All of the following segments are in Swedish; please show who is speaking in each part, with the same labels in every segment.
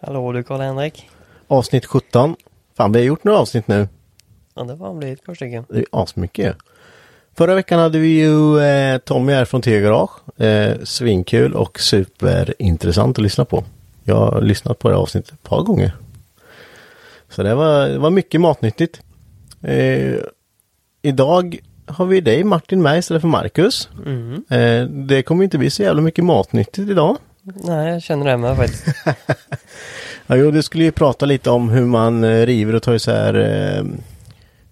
Speaker 1: Hallå du Karl-Henrik.
Speaker 2: Avsnitt 17. Fan, vi har gjort några avsnitt nu.
Speaker 1: Ja, det var blivit ett par stycken.
Speaker 2: Det är asmycket ju. Förra veckan hade vi ju eh, Tommy här från T-Garage. Eh, svinkul och superintressant att lyssna på. Jag har lyssnat på det här avsnittet ett par gånger. Så det var, det var mycket matnyttigt. Eh, idag har vi dig Martin med istället för Marcus. Eh, det kommer inte bli så jävla mycket matnyttigt idag.
Speaker 1: Nej, jag känner det med faktiskt.
Speaker 2: Ja, jo, du skulle ju prata lite om hur man eh, river och tar isär eh,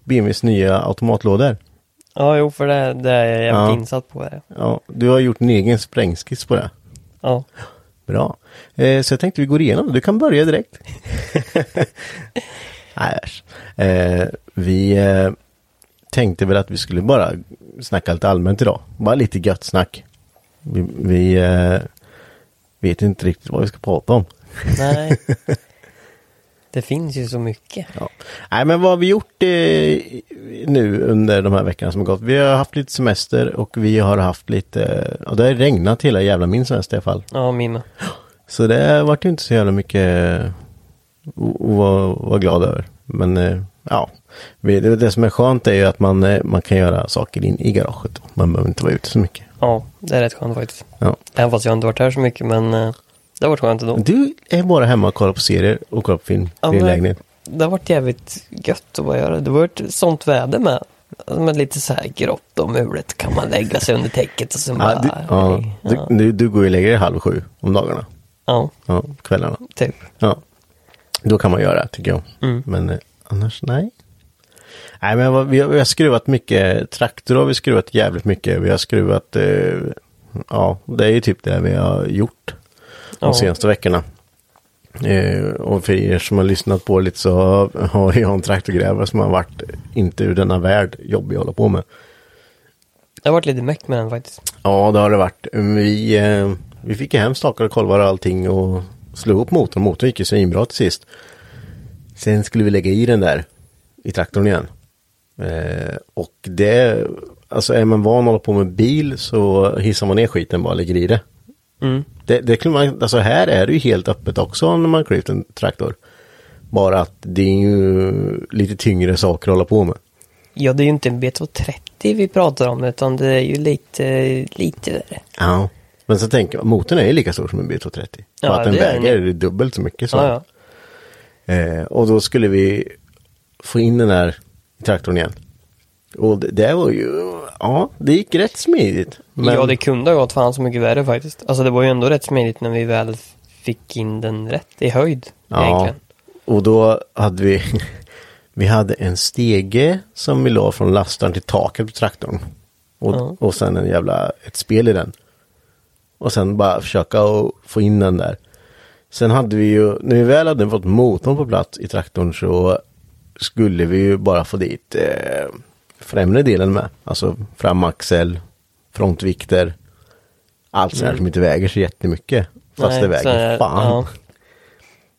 Speaker 2: BMWs nya automatlådor.
Speaker 1: Ja, jo, för det, det är jag jävligt
Speaker 2: Ja.
Speaker 1: insatt på. Det.
Speaker 2: Ja, du har gjort en egen sprängskiss på det.
Speaker 1: Ja.
Speaker 2: Bra. Eh, så jag tänkte vi går igenom det. Du kan börja direkt. Nej, äsch. eh, Vi eh, tänkte väl att vi skulle bara snacka lite allmänt idag. Bara lite gött snack. Vi, vi eh, vet inte riktigt vad vi ska prata om.
Speaker 1: Nej. det finns ju så mycket.
Speaker 2: Ja. Nej men vad har vi gjort eh, nu under de här veckorna som har gått? Vi har haft lite semester och vi har haft lite, och det har regnat hela jävla min semester i alla fall.
Speaker 1: Ja, min med.
Speaker 2: Så det har varit ju inte så jävla mycket eh, att att vara att vara glad över. Men eh, ja, Vi- det, det som är skönt är ju att man, eh, man kan göra saker in i garaget. då. Man behöver inte vara ute så mycket.
Speaker 1: Ja, det är rätt skönt faktiskt.
Speaker 2: Ja.
Speaker 1: Även fast jag inte varit här så mycket, men eh, det har varit skönt ändå.
Speaker 2: Du är bara hemma och kollar på serier och kollar på film
Speaker 1: Ja,
Speaker 2: i din
Speaker 1: men-
Speaker 2: lägenhet.
Speaker 1: Det har varit jävligt gött att bara göra det. Det har varit sånt väder med. Men lite så här grått och mulet kan man lägga sig under täcket och sen bara...
Speaker 2: Ja, du, ja,
Speaker 1: ja.
Speaker 2: du, du, du går ju och lägger dig halv sju om dagarna.
Speaker 1: ja,
Speaker 2: Ja, kvällarna.
Speaker 1: typ.
Speaker 2: Ja. Då kan man göra det tycker jag. Men eh, annars nej. Nej men vad, vi, har, vi har skruvat mycket, traktor har vi skruvat jävligt mycket. Vi har skruvat, eh, ja det är ju typ det vi har gjort de
Speaker 1: Ja.
Speaker 2: senaste veckorna. Eh, och för er som har lyssnat på lite så har- har jag en traktorgrävare som har varit inte ur denna värld jobbig att hålla på med.
Speaker 1: Det har varit lite meck med den faktiskt.
Speaker 2: Ja, det har det varit. Vi, eh, vi fick ju hem stakar och kolvar och allting och slog upp motorn. Motorn gick ju svinbra till sist. Sen skulle vi lägga i den där i traktorn igen. Eh, och det, alltså är man van att hålla på med bil så hissar man ner skiten bara och lägger i det. Det, det kunde man, alltså här är det ju helt öppet också när man klippt en traktor. Bara att det är ju lite tyngre saker att hålla på med.
Speaker 1: Ja, det är ju inte en B230 vi pratar om, utan det är ju lite, lite värre.
Speaker 2: Ja. Men så tänker jag, motorn är ju lika stor som en B230.
Speaker 1: Ja,
Speaker 2: bara att den
Speaker 1: det är
Speaker 2: väger dubbelt så mycket. Så.
Speaker 1: Ja, ja.
Speaker 2: Eh, och då skulle vi få in den här i traktorn igen. Och det, det var ju, ja, det gick rätt smidigt. Men,
Speaker 1: ja, det kunde ha gått fan så mycket värre faktiskt. Alltså det var ju ändå rätt smidigt när vi väl fick in den rätt i höjd.
Speaker 2: ja,
Speaker 1: Egentligen.
Speaker 2: Och då hade vi, vi hade en stege som vi la från lastaren till taket på traktorn. Och,
Speaker 1: Ja.
Speaker 2: och sen en jävla, ett spel i den. Och sen bara försöka att få in den där. Sen hade vi ju, när vi väl hade fått motorn på plats i traktorn så skulle vi ju bara få dit eh, främre delen med. Alltså framaxel, frontvikter, allt sånt här som inte väger så jättemycket. Fast
Speaker 1: Mm. Nej,
Speaker 2: det
Speaker 1: så
Speaker 2: väger
Speaker 1: här,
Speaker 2: fan.
Speaker 1: ja.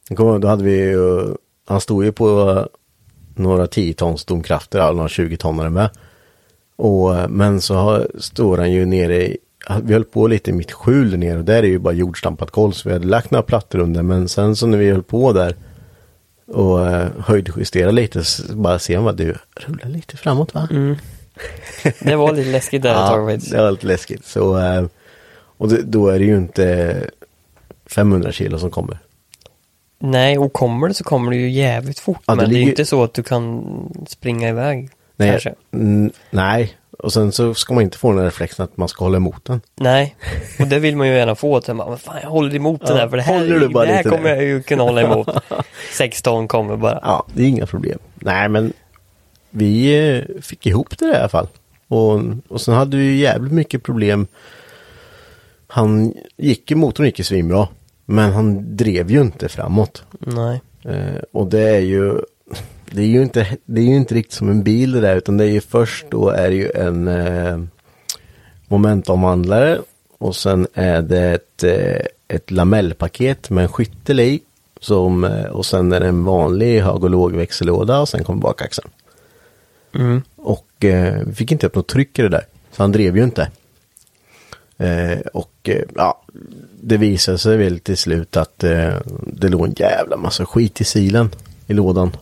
Speaker 2: Jag kommer ihåg, Då hade vi ju, han stod ju på några 10 tons domkrafter, eller några 20 tonare med. Och, men så har, står han ju nere i, vi höll på lite i mitt skjul där nere och där är ju bara jordstampat golv så vi hade lagt några plattor under men sen så när vi höll på där och eh, höjdjusterade lite så bara ser man att du rullar lite framåt va?
Speaker 1: Mm. Det var lite läskigt där ett tag
Speaker 2: Ja,
Speaker 1: faktiskt.
Speaker 2: det var lite läskigt. Så, eh, och det, då är det ju inte 500 kilo som kommer.
Speaker 1: Nej, och kommer det så kommer det ju jävligt fort.
Speaker 2: Ja, det
Speaker 1: men det är
Speaker 2: ligger-
Speaker 1: ju inte så att du kan springa iväg.
Speaker 2: Nej,
Speaker 1: Kanske.
Speaker 2: n- nej, och sen så ska man inte få den här reflexen att man ska hålla emot den.
Speaker 1: Nej, och det vill man ju gärna få. Att man, "Men fan, jag håller emot den här för det här,
Speaker 2: håller du bara
Speaker 1: det här
Speaker 2: lite
Speaker 1: kommer
Speaker 2: där."
Speaker 1: jag ju kunna hålla emot. 16 kommer bara. "Ah,
Speaker 2: Ja, det är inga problem. Nej, men vi eh, fick ihop det där i alla fall. Och, och sen hade vi ju jävligt mycket problem. Han gick ju, motorn gick ju svinbra. Men han drev ju inte framåt.
Speaker 1: Nej.
Speaker 2: Eh, och det är ju, det är ju inte, det är ju inte riktigt som en bil det där, utan det är ju först då är det ju en eh, momentomvandlare och sen är det ett, eh, ett lamellpaket med en skyttel i. Som, eh, och sen är det en vanlig hög och lågväxellåda och sen kommer bakaxeln. Och eh, vi fick inte upp något tryck i det där, så han drev ju inte. Eh, och eh, ja, det visade sig väl till slut att eh, det låg en jävla massa skit i silen i lådan.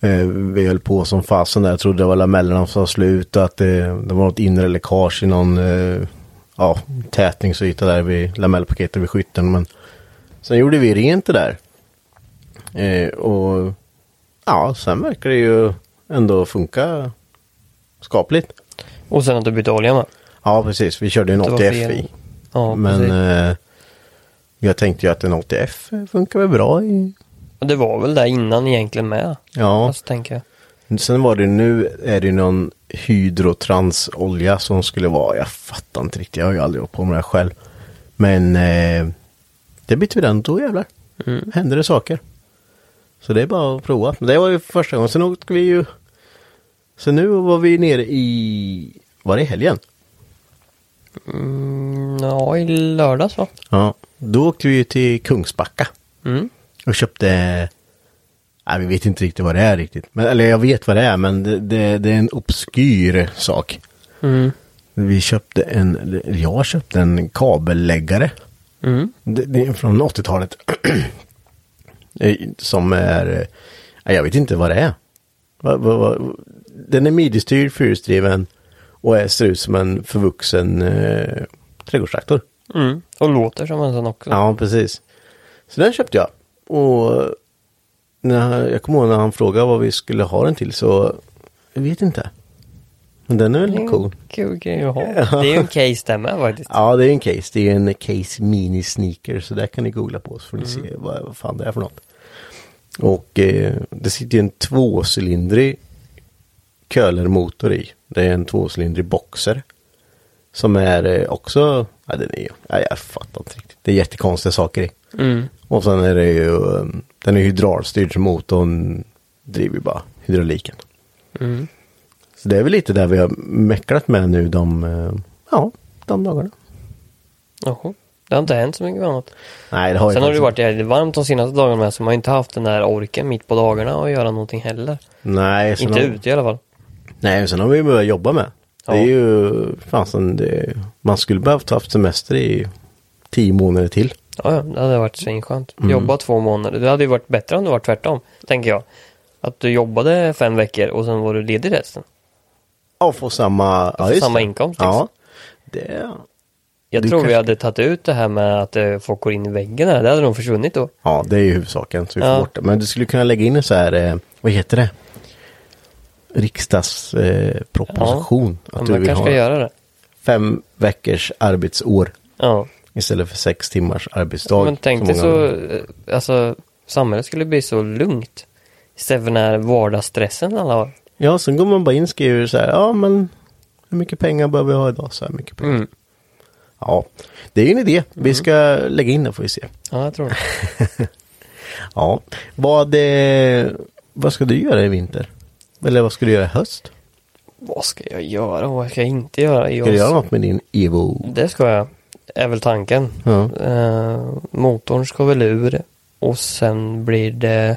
Speaker 2: Eh, vi höll på som fasen där, jag trodde det var lamellerna som var slut och att eh, det var något inre läckage i någon eh, ja, tätningsyta där vid lamellpaketet vid skytten. Men sen gjorde vi rent det där. Eh, och ja, sen verkar det ju ändå funka skapligt.
Speaker 1: Och sen att du bytte olja med.
Speaker 2: Ja, precis. Vi körde ju en
Speaker 1: Det var
Speaker 2: 80F
Speaker 1: fel.
Speaker 2: i.
Speaker 1: Ja,
Speaker 2: Men
Speaker 1: precis.
Speaker 2: eh, jag tänkte ju att en 80F funkar väl bra i...
Speaker 1: Och det var väl där innan egentligen med.
Speaker 2: Ja,
Speaker 1: Alltså, tänker jag.
Speaker 2: sen var det nu är det någon hydrotransolja som skulle vara, jag fattar inte riktigt, jag har ju aldrig hållit på med det här själv. Men eh, det bytte vi den, då jävlar
Speaker 1: Mm.
Speaker 2: hände det saker. Så det är bara att prova. Men det var ju första gången, sen åkte vi ju... Så nu var vi nere i... Var det i helgen?
Speaker 1: Mm, ja, i lördags va?
Speaker 2: Ja, då åkte vi ju till Kungsbacka.
Speaker 1: Mm.
Speaker 2: Och köpte... Nej, vi vet inte riktigt vad det är riktigt. Men, eller jag vet vad det är, men det, det, det är en obskyr sak.
Speaker 1: Mm.
Speaker 2: Vi köpte en... eller Jag köpte en kabelläggare.
Speaker 1: Mm.
Speaker 2: Det, det är från 80-talet. Eh, Som är... eh, nej, Jag vet inte vad det är. Va, va, va, den är midjestyrd, fyrhjulsdriven och är, ser ut som en förvuxen eh, trädgårdstraktor.
Speaker 1: Mm. Och låter som en sån också.
Speaker 2: Ja, precis. Så den köpte jag. Och när, jag kommer ihåg när han frågade vad vi skulle ha den till så, jag vet inte. Men den är
Speaker 1: Det är
Speaker 2: väl
Speaker 1: en
Speaker 2: cool.
Speaker 1: Kul grej att ha. Det är ju en case där med faktiskt.
Speaker 2: Ja, det är en case. Det är en case mini sneaker. Så där kan ni googla på så får ni se vad, vad fan det är för något. Och eh, det sitter ju en tvåcylindrig kölermotor i. Det är en tvåcylindrig boxer. Som är eh, också, ja den är ju, ja, jag fattar inte riktigt. Det är jättekonstiga saker i. Och sen är det ju, eh, den är hydraulstyrd så motorn driver ju bara hydrauliken. Så det är väl lite där vi har mäcklat med nu de, eh, ja, de dagarna.
Speaker 1: Jaha. Det har inte hänt så mycket annat.
Speaker 2: Nej, det har
Speaker 1: Sen
Speaker 2: jag
Speaker 1: har det
Speaker 2: faktiskt
Speaker 1: varit jävligt varmt de senaste dagarna med så man har inte haft den där orken mitt på dagarna och göra någonting heller.
Speaker 2: inte. Nej, sen
Speaker 1: inte
Speaker 2: har,
Speaker 1: ute i alla fall.
Speaker 2: Nej, men sen har vi ju börjat jobba med. Det
Speaker 1: Ja.
Speaker 2: är ju fasen, det, man skulle behövt haft semester i tio månader till.
Speaker 1: Ja, ja, det hade varit svinskönt.
Speaker 2: Mm.
Speaker 1: Jobba två månader. Det hade ju varit bättre om det var tvärtom, tänker jag. Att du jobbade fem veckor och sen var du ledig resten.
Speaker 2: Och få samma, ja,
Speaker 1: få
Speaker 2: just
Speaker 1: samma
Speaker 2: det.
Speaker 1: inkomst,
Speaker 2: Ja,
Speaker 1: liksom.
Speaker 2: det,
Speaker 1: Jag
Speaker 2: Du
Speaker 1: tror vi
Speaker 2: kanske-
Speaker 1: hade tagit ut det här med att eh, folk går in i väggen här. Det hade nog försvunnit då.
Speaker 2: ja, det är ju huvudsaken. Så vi får
Speaker 1: Ja.
Speaker 2: bort det. Men du skulle kunna lägga in en så här, eh, vad heter det? Riksdagsproposition. Eh, proposition.
Speaker 1: Ja,
Speaker 2: att
Speaker 1: men
Speaker 2: du
Speaker 1: man
Speaker 2: vill
Speaker 1: kanske
Speaker 2: ha
Speaker 1: ska göra det.
Speaker 2: fem veckors arbetsår
Speaker 1: Ja.
Speaker 2: istället för sex timmars arbetsdag.
Speaker 1: men tänk
Speaker 2: som
Speaker 1: dig
Speaker 2: många
Speaker 1: så,
Speaker 2: andra.
Speaker 1: eh, alltså, samhället skulle bli så lugnt. Istället för den här vardagsstressen alla har.
Speaker 2: Ja, sen går man bara in och skriver så här, ja men hur mycket pengar behöver jag ha idag? Så här mycket pengar.
Speaker 1: Mm.
Speaker 2: Ja, det är ju en idé. Vi ska lägga in den får vi se.
Speaker 1: Ja, jag tror det.
Speaker 2: Ja, vad, eh, vad ska du göra i vinter? Eller vad ska du göra i höst?
Speaker 1: Vad ska jag göra och vad ska jag inte göra?
Speaker 2: Ska du
Speaker 1: Jag-
Speaker 2: göra något med din Evo?
Speaker 1: Det ska jag. Är väl tanken.
Speaker 2: Ja.
Speaker 1: Eh, motorn ska väl ur. Och sen blir det...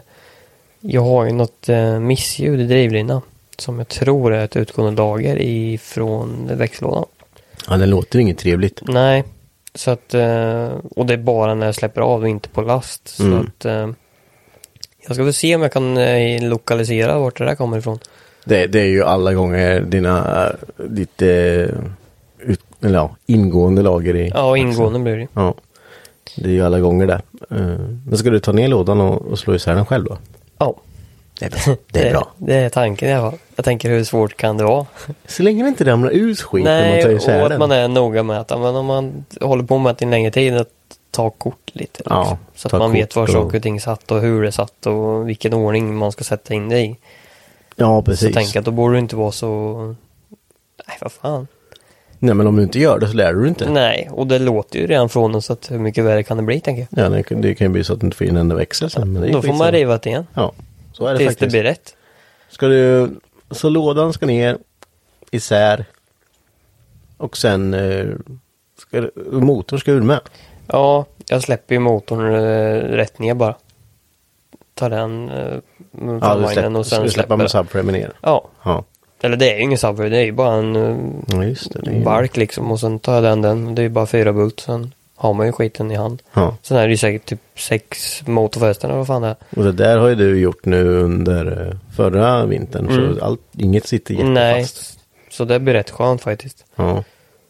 Speaker 1: Jag har ju något eh, missljud i drivlinan. Som jag tror är ett utgående lager ifrån växellådan.
Speaker 2: Ja, den låter inget trevligt.
Speaker 1: Nej. Så att... eh, och det är bara när jag släpper av och inte på last. Så
Speaker 2: Mm.
Speaker 1: att... eh, jag ska väl se om jag kan eh, lokalisera vart det där kommer ifrån.
Speaker 2: Det, det är ju alla gånger dina, ditt eh, ut, eller ja, ingående lager i.
Speaker 1: Ja, ingående blir det ju.
Speaker 2: Ja. Det är ju alla gånger det. Eh, Men ska du ta ner lådan och, och slå isär den själv då?
Speaker 1: Ja.
Speaker 2: Det är bra. Det är bra.
Speaker 1: Det, är tanken i alla fall. Jag tänker hur svårt kan det vara?
Speaker 2: Så länge det inte ramlar ut skit när man
Speaker 1: Nej,
Speaker 2: tar
Speaker 1: och
Speaker 2: isär
Speaker 1: att
Speaker 2: den.
Speaker 1: man är noga med att ja, men om man håller på med det en längre tid, att ta kort lite.
Speaker 2: Ja,
Speaker 1: liksom. så att
Speaker 2: ta
Speaker 1: man vet var
Speaker 2: kort och-
Speaker 1: saker och ting satt och hur det satt och vilken ordning man ska sätta in det i.
Speaker 2: Ja,
Speaker 1: Så
Speaker 2: precis.
Speaker 1: tänk att då borde det inte vara så... Nej, vad fan.
Speaker 2: Nej, men om du inte gör det så lär du dig inte.
Speaker 1: Nej, och det låter ju redan från oss så att hur mycket värre kan det bli, tänker jag.
Speaker 2: Ja, det, kan- det kan ju bli så att du inte får in en enda växel sen. Men det är ju
Speaker 1: Då får
Speaker 2: skitsamma.
Speaker 1: man riva det igen.
Speaker 2: Ja, så är det
Speaker 1: Tills det
Speaker 2: faktiskt.
Speaker 1: blir rätt.
Speaker 2: Ska du, så lådan ska ner, isär och sen eh, ska, du- motorn ska ur med.
Speaker 1: Ja, jag släpper ju motorn eh, rätt ner bara. Tar den, eh,
Speaker 2: du
Speaker 1: framvagnen och sen
Speaker 2: du släpper
Speaker 1: släpper
Speaker 2: med
Speaker 1: jag.
Speaker 2: subframen ner.
Speaker 1: Ja,
Speaker 2: Ja,
Speaker 1: eller det är ju ingen subwoofer, det är ju bara en eh,
Speaker 2: ja just det. det är ju-
Speaker 1: bark liksom och sen tar jag den den. Det är ju bara fyra bolt, sen har man ju skiten i hand.
Speaker 2: Ja,
Speaker 1: Sen är det ju säkert typ sex motorfästen eller vad fan det är.
Speaker 2: och det där har ju du gjort nu under eh, förra vintern. Så allt, inget sitter
Speaker 1: Mm. Nej,
Speaker 2: jättefast.
Speaker 1: så det blir rätt skönt faktiskt.
Speaker 2: Ja.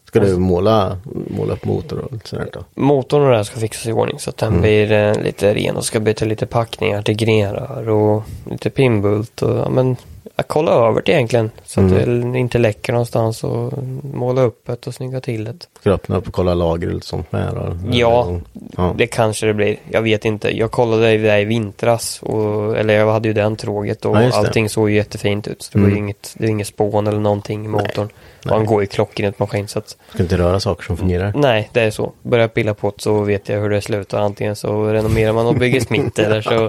Speaker 2: Ska
Speaker 1: Alltså-
Speaker 2: du måla, måla upp motor och lite sånt då?
Speaker 1: Motorn och det här ska fixas i ordning så att
Speaker 2: Mm.
Speaker 1: den blir eh, lite ren och ska byta lite packningar till grenrör och lite pinnbult och ja, men jag kolla över det egentligen så
Speaker 2: Mm.
Speaker 1: att det inte läcker någonstans och måla upp det och snygga till det.
Speaker 2: Ska du öppna upp och kolla lager och sånt med? då?
Speaker 1: Ja,
Speaker 2: ja.
Speaker 1: Det kanske det blir. Jag vet inte. Jag kollade ju det här i vintras. Och, eller jag hade ju det antråget och
Speaker 2: Ja, just det. Mm.
Speaker 1: allting såg ju jättefint ut. Så det var ju inget, det var inget spån eller någonting i motorn. Och Han går ju klockrent maskin så att
Speaker 2: Ska inte röra saker som fungerar.
Speaker 1: nej, det är så. Börjar jag pilla på det så vet jag hur det slutar. Antingen så renomerar man och bygger smitt eller så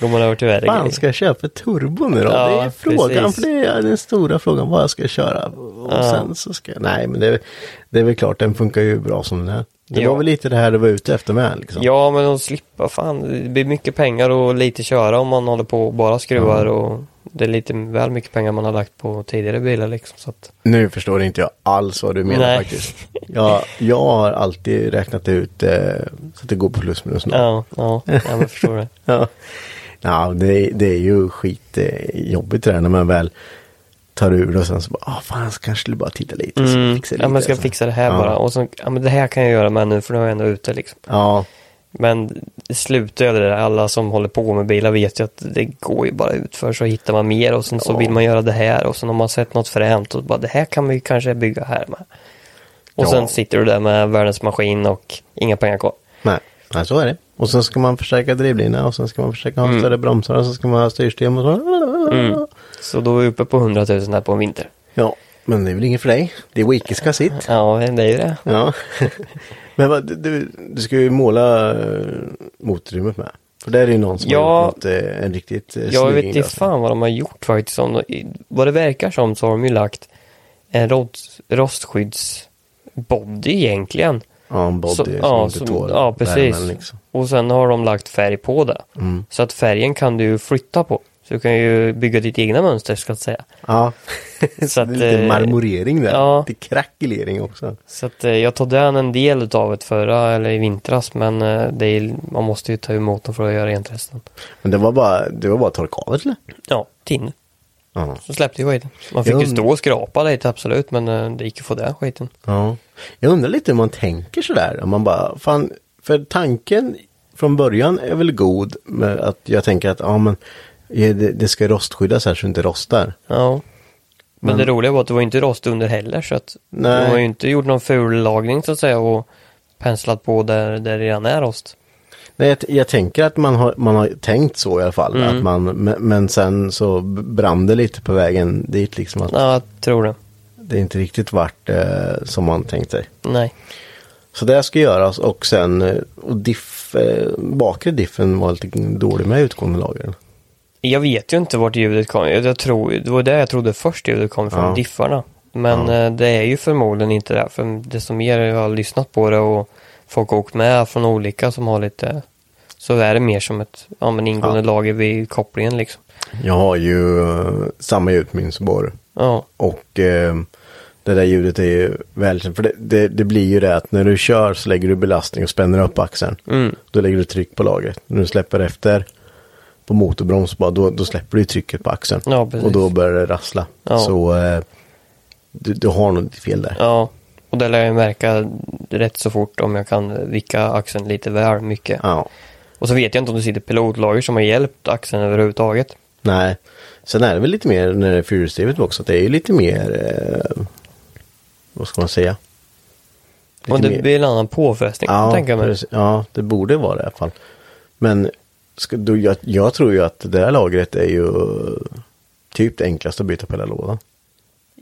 Speaker 1: går man över till värre
Speaker 2: Fan,
Speaker 1: grejer.
Speaker 2: ska jag köpa turbo nu då?
Speaker 1: Ja,
Speaker 2: det är frågan,
Speaker 1: precis.
Speaker 2: för det är den stora frågan vad jag ska köra. Och sen så ska jag, nej men det är, det är väl klart, den funkar ju bra som den är. Det
Speaker 1: Ja.
Speaker 2: var väl lite det här du var ute efter med liksom.
Speaker 1: Ja, men de slipper fan. Det blir mycket pengar och lite köra om man håller på och bara skruvar och det är lite väl mycket pengar man har lagt på tidigare bilar liksom. Så att,
Speaker 2: Nu förstår inte jag alls vad du menar
Speaker 1: Nej.
Speaker 2: faktiskt. Jag, jag har alltid räknat ut eh, så att det går på plus minus noll.
Speaker 1: ja, ja, ja, men jag förstår det.
Speaker 2: Ja. Ja, det, det är ju skitjobbigt det där när man väl tar ur det och sen så bara, ah fan, så kanske du bara titta lite. och så
Speaker 1: Mm.
Speaker 2: fixar jag
Speaker 1: Ja, men
Speaker 2: lite alltså.
Speaker 1: ska
Speaker 2: och
Speaker 1: jag
Speaker 2: så-
Speaker 1: fixa det här
Speaker 2: ja.
Speaker 1: bara. Och så, ja, men det här kan jag göra med nu för nu är jag ändå ute liksom.
Speaker 2: Ja,
Speaker 1: Men sluta det där. Alla som håller på med bilar vet ju att det går ju bara ut för så hittar man mer och sen så
Speaker 2: Ja.
Speaker 1: vill man göra det här och sen har man sett något fränt och bara det här kan vi kanske bygga här med. Och
Speaker 2: Ja.
Speaker 1: sen sitter du där med världens maskin och inga pengar kvar.
Speaker 2: Nej, nej så är det. Och sen ska man förstärka drivlina och sen ska man försöka
Speaker 1: Mm.
Speaker 2: ha större bromsar och sen ska man ha styrsystem och så.
Speaker 1: Så då är vi uppe på 100 000 här på en vinter.
Speaker 2: Ja, men det är väl inget för dig. Det är Wikis ska sitt.
Speaker 1: Ja, det är ju det.
Speaker 2: Ja. men vad, du- du, du ska ju måla eh, motorrummet med. För där är ju någon som
Speaker 1: Ja.
Speaker 2: har gjort något, eh, en riktigt eh,
Speaker 1: Jag
Speaker 2: snygg
Speaker 1: vet inte
Speaker 2: inlösning.
Speaker 1: fan vad de har gjort faktiskt. Om de, vad det verkar som så har de ju lagt en rost, rostskyddsbody egentligen.
Speaker 2: Ja, en body
Speaker 1: Så-
Speaker 2: som
Speaker 1: ja,
Speaker 2: inte
Speaker 1: som-
Speaker 2: tål
Speaker 1: ja, precis.
Speaker 2: värmen liksom. Mm.
Speaker 1: Och sen har de lagt färg på det. Så att färgen kan du ju flytta på. Så du kan ju bygga ditt egna mönster ska jag säga.
Speaker 2: Ja,
Speaker 1: Så att,
Speaker 2: det är lite
Speaker 1: eh,
Speaker 2: marmorering där.
Speaker 1: ja.
Speaker 2: Lite krackelering också.
Speaker 1: Så att eh, jag tog den en del utav det förra, eller i vintras. Men eh, det är, man måste ju ta emot den för att göra rent resten.
Speaker 2: Men det var bara, det var bara torka av eller?
Speaker 1: Ja, tin.
Speaker 2: Ja.
Speaker 1: Så släppte ju skiten. Man fick
Speaker 2: Jag
Speaker 1: ju
Speaker 2: und-
Speaker 1: stå och skrapa lite absolut. Men eh, det gick ju att få den skiten.
Speaker 2: Ja. Jag undrar lite hur man tänker sådär. Om man bara, fan, för tanken från början är väl god. Med att jag tänker att ja, men, eh, det, det ska rostskyddas här så det inte rostar.
Speaker 1: Ja. Men, det roliga var att det var ju inte rost under heller så att
Speaker 2: Nej.
Speaker 1: de har ju inte gjort någon ful lagning så att säga och penslat på där, där det redan är rost.
Speaker 2: Nej, jag, t- jag tänker att man har, man har tänkt så i alla fall.
Speaker 1: Mm.
Speaker 2: Att man, men, men sen så b- brann det lite på vägen dit. Liksom att
Speaker 1: Ja, jag tror det.
Speaker 2: Det inte riktigt vart eh, som man tänkt sig.
Speaker 1: Nej.
Speaker 2: Så det ska göras och sen eh, och diff, eh, bakre diffen var lite dålig med utgående lagren.
Speaker 1: Jag vet ju inte vart ljudet kom jag, jag tror, Det var det jag trodde först ljudet kom från
Speaker 2: Ja.
Speaker 1: diffarna. Men eh, det är ju förmodligen inte det. För det som mer jag har lyssnat på det och folk har åkt med från olika som har lite... Så är det mer som ett ja, men ingående lager vid kopplingen liksom.
Speaker 2: Jag har ju eh, samma ljud på min Subaru.
Speaker 1: Ja,
Speaker 2: Och eh, det där ljudet är ju välkänt. För det, det, det blir ju det att när du kör så lägger du belastning och spänner upp axeln. Då lägger du tryck på lagret. När du släpper efter på motorbroms bara, då, då släpper du ju trycket på axeln.
Speaker 1: Ja, precis.
Speaker 2: och då börjar det rassla.
Speaker 1: Ja.
Speaker 2: Så eh, du, du har nog lite fel där.
Speaker 1: ja. Och det lär jag ju märka rätt så fort om jag kan vicka axeln lite väl mycket.
Speaker 2: Ja.
Speaker 1: Och så vet jag inte om det sitter pilotlager som har hjälpt axeln överhuvudtaget.
Speaker 2: Nej. Sen är det väl lite mer när det är fyrhjulsdrivet också. Att det är ju lite mer, eh, vad ska man säga?
Speaker 1: och det
Speaker 2: mer-
Speaker 1: blir en annan påfrestning kan jag tänka mig.
Speaker 2: precis. Ja, det borde vara det i alla fall. Men ska, då, jag, jag tror ju att det där lagret är ju typ det enklaste att byta på hela lådan.